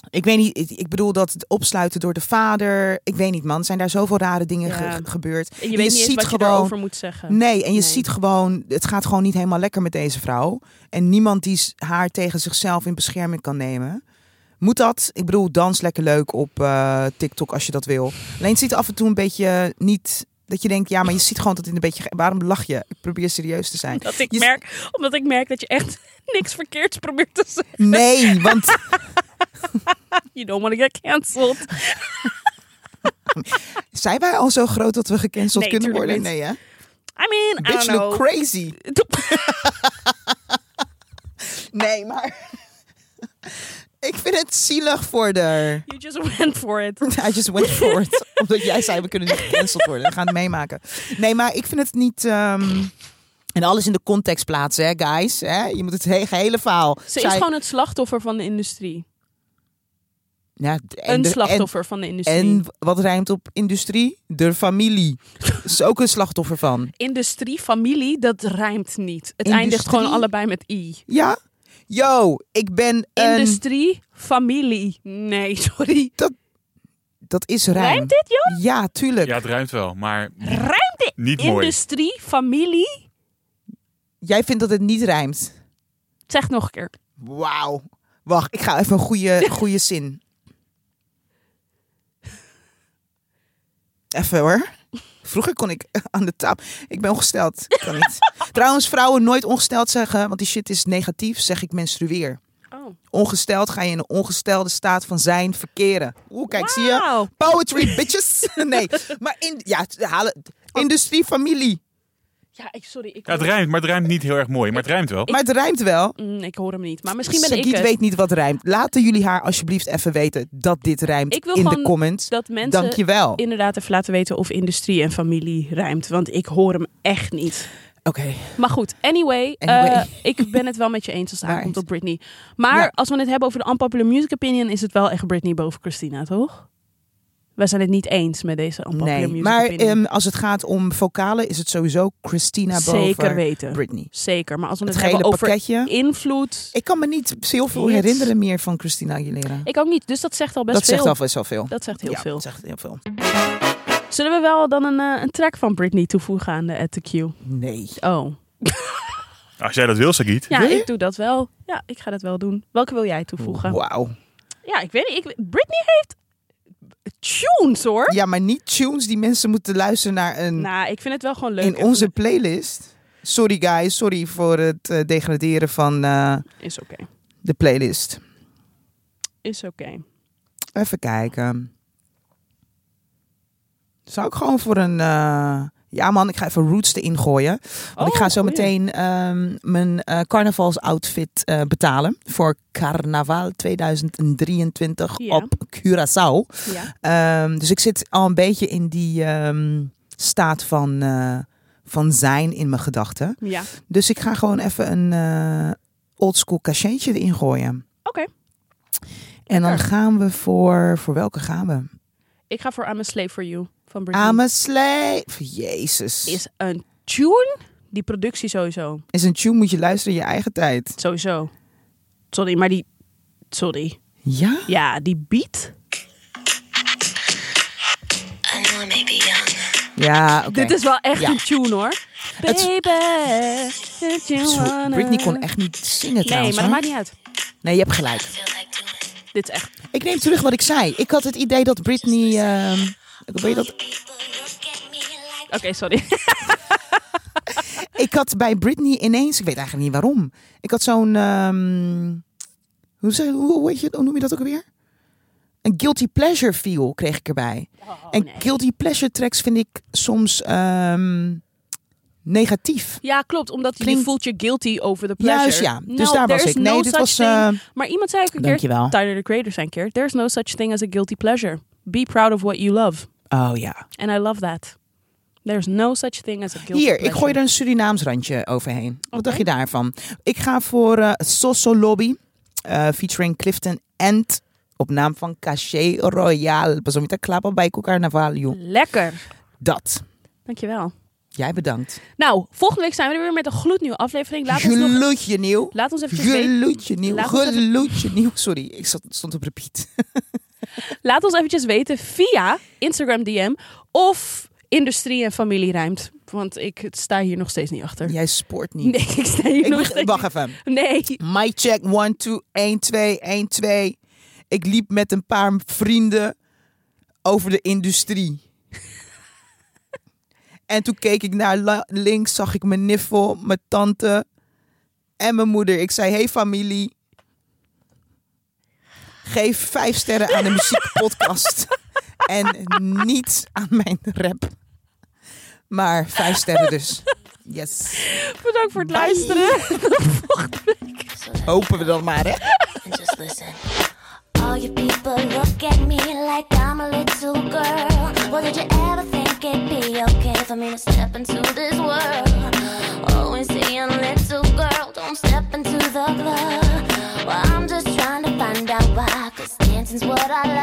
Ik weet niet, ik, ik bedoel dat het opsluiten door de vader. Ik weet niet, man. Zijn daar zoveel rare dingen ge-
Ja.
gebeurd?
Je, weet niet eens
ziet
wat je
gewoon-
erover moet zeggen.
Nee, en je
Nee.
ziet gewoon, het gaat gewoon niet helemaal lekker met deze vrouw. En niemand die s- haar tegen zichzelf in bescherming kan nemen. Moet dat? Ik bedoel, dans lekker leuk op eh, TikTok als je dat wil. Alleen het ziet af en toe een beetje niet... Dat je denkt, ja, maar je ziet gewoon dat het een beetje... ge- Waarom lach je? Ik probeer serieus te zijn.
Dat ik
Je-
merk, omdat ik merk dat je echt niks verkeerds probeert te zeggen.
Nee, want
You don't want to get cancelled.
zijn wij al zo groot dat we gecanceld
Nee,
kunnen
tuurlijk
worden?
niet.
Nee, hè?
I mean, I don't
Bitch look
know.
crazy. Nee, maar... Ik vind het zielig voor de...
You just went for it.
I just went for it. Omdat jij zei, we kunnen niet gecanceld worden. We gaan het meemaken. Nee, maar ik vind het niet... ehm, en alles in de context plaatsen, hè, guys. Hè? Je moet het he- gehele verhaal...
Ze
Zij-
is gewoon het slachtoffer van de industrie.
Ja, en
Een
de- en-
slachtoffer van de industrie.
En wat rijmt op industrie? De familie. is ook een slachtoffer van.
Industrie, familie, dat rijmt niet. Het
Industrie?
eindigt gewoon allebei met i.
Ja? Yo, ik ben een...
Industrie, familie. Nee, sorry.
Dat is rijm.
Rijmt dit, joh?
Ja, tuurlijk.
Ja, het ruimt wel, maar
Rijmt dit?
niet mooi.
Industrie, familie.
Jij vindt dat het niet rijmt.
Zeg nog een keer.
Wauw. Wacht, ik ga even een goede, goede zin. Even hoor. Vroeger kon ik aan de tafel. Ik ben ongesteld. Kan niet. Trouwens, vrouwen nooit ongesteld zeggen, want die shit is negatief. Zeg ik menstrueer.
Oh.
Ongesteld ga je in een ongestelde staat van zijn verkeren. Oeh, kijk, zie je?
Wauw.
Poetry, bitches. Nee, maar in, ja, halen,
Oh.
industrie, familie.
Ja, ik, sorry. Ik,
Ja, het rijmt, maar het rijmt niet heel erg mooi. Maar het rijmt wel.
Maar het rijmt wel.
Mm, ik hoor hem niet. Maar misschien ben
Sagiet
ik het.
weet niet wat rijmt. Laten jullie haar alsjeblieft even weten dat dit rijmt
Ik wil
in de
gewoon
comments.
Dat mensen
Dankjewel. Oké.
inderdaad even laten weten of industrie en familie rijmt. Want ik hoor hem echt niet. Maar goed, anyway.
Anyway.
eh, ik ben het wel met je eens als het
Right.
aankomt op Britney. Maar
Ja.
als we het hebben over de unpopular music opinion... is het wel echt Britney boven Christina, toch? Wij zijn het niet eens met deze unpopular
Nee,
music
maar
opinion.
ehm, als het gaat om vocalen is het sowieso Christina boven
Zeker weten.
Britney.
Zeker. Maar als we het,
Het gele
hebben over
pakketje.
invloed...
Ik kan me niet heel veel
Hits.
herinneren meer van Christina Aguilera.
Ik ook niet. Dus dat zegt al best
dat
veel.
zegt al best wel veel.
Dat zegt heel
Ja,
veel.
dat zegt heel veel.
Zullen we wel dan een, eh, een track van Britney toevoegen aan de At The Q?
Nee.
Oh.
Als jij dat wil, Sagiet.
Ja,
Wil je?
ik doe dat wel. Ja, ik ga dat wel doen. Welke wil jij toevoegen?
Wauw.
Ja, ik weet niet. Ik, Britney heeft tunes hoor.
Ja, maar niet tunes die mensen moeten luisteren naar een...
Nou, ik vind het wel gewoon leuk.
Mm. in onze playlist. Sorry guys, sorry voor het eh, degraderen van eh,
Is oké.
de playlist.
Is oké.
Even kijken. Zou ik gewoon voor een... eh, Ja man, ik ga even Roots erin gooien. Want ik
Oh,
ga zo
goeie.
meteen ehm, mijn eh carnavalsoutfit eh, betalen. Voor carnaval 2023
Ja.
op Curaçao.
Ja.
Ehm, dus ik zit al een beetje in die ehm, staat van, eh, van zijn in mijn gedachten.
Ja.
Dus ik ga gewoon even een eh, oldschool cachentje erin gooien.
Oké.
En dan
Lekker.
gaan we voor... Voor welke gaan we?
Ik ga voor I'm a Slave for You van Britney.
I'm a slave. Jezus. Is,
Is een tune. Die productie sowieso.
een tune, moet je luisteren in je eigen tijd.
Sowieso. Sorry, maar die... Sorry.
Ja?
Ja, die beat.
I know I may be young.
Ja, oké.
Dit is wel echt
Ja.
een tune hoor.
Het is-
Baby, don't you
Zo,
wanna-
Britney kon echt niet zingen
Nee,
trouwens.
maar dat
hoor.
maakt niet uit.
Nee, je hebt gelijk.
Feel like doing.
Dit is echt...
Ik neem terug wat ik zei. Ik had het idee dat Britney... ehm weet je dat?
People look at me like
Oké, sorry.
Ik had bij Britney ineens... Ik weet eigenlijk niet waarom. Ik had zo'n... ehm, hoe, zeg, hoe, hoe heet je, hoe noem je dat ook alweer? Een guilty pleasure feel kreeg ik erbij. en
Oh, nee.
guilty pleasure tracks vind ik soms ehm, negatief.
Ja, klopt. Omdat
Klinkt-
je voelt je guilty over de pleasure.
Juist, ja. Dus
Nou,
daar was
there is
ik. Nee,
no
dit
such
was,
thing.
eh,
Maar iemand zei ook een keer,
Dankjewel.
Tyler, the Creator zijn keer, there's no such thing as a guilty pleasure. Be proud of what you love.
Oh ja.
And I love that. There's no such thing as a guilty
Hier,
pleasure.
ik gooi er een Surinaams randje overheen. Wat
Oké.
dacht je daarvan? Ik ga voor eh Soso Lobby, eh, featuring Clifton and op naam van Caché Royal. Pas om je te klappen bij Carnavalio.
Lekker.
Dat.
Dankjewel.
Jij bedankt.
Nou, volgende week zijn we er weer met een gloednieuwe aflevering. Laat ons, nog,
Geloetje nieuw.
laat ons eventjes weten.
Geloetje nieuw.
Laat ons even-
Geloetje nieuw. Sorry, ik zat, stond op repeat.
Laat ons eventjes weten via Instagram DM of industrie en familie rijmt. Want ik sta hier nog steeds niet achter.
Jij spoort niet.
Nee, ik sta hier
Ik
nog
beg-
steeds
wacht even.
niet- Nee.
Mic check 1, 2, 1, 2, 1, 2. Ik liep met een paar vrienden over de industrie. en toen keek ik naar la- links, zag ik mijn niffel, mijn tante en mijn moeder. Ik zei, hey familie, geef vijf sterren aan de muziekpodcast. en niet aan mijn rap. Maar vijf sterren dus. Yes.
Bedankt voor het
Bye.
luisteren.
so that
Hopen we dan maar, hè.
and just listen. All you people look at me like I'm a little girl. Well, did you ever think it'd be okay for me to step into this world? Always saying, little girl, don't step into the club. Well, I'm just trying to find out why. Cause dancing's reasons what I love.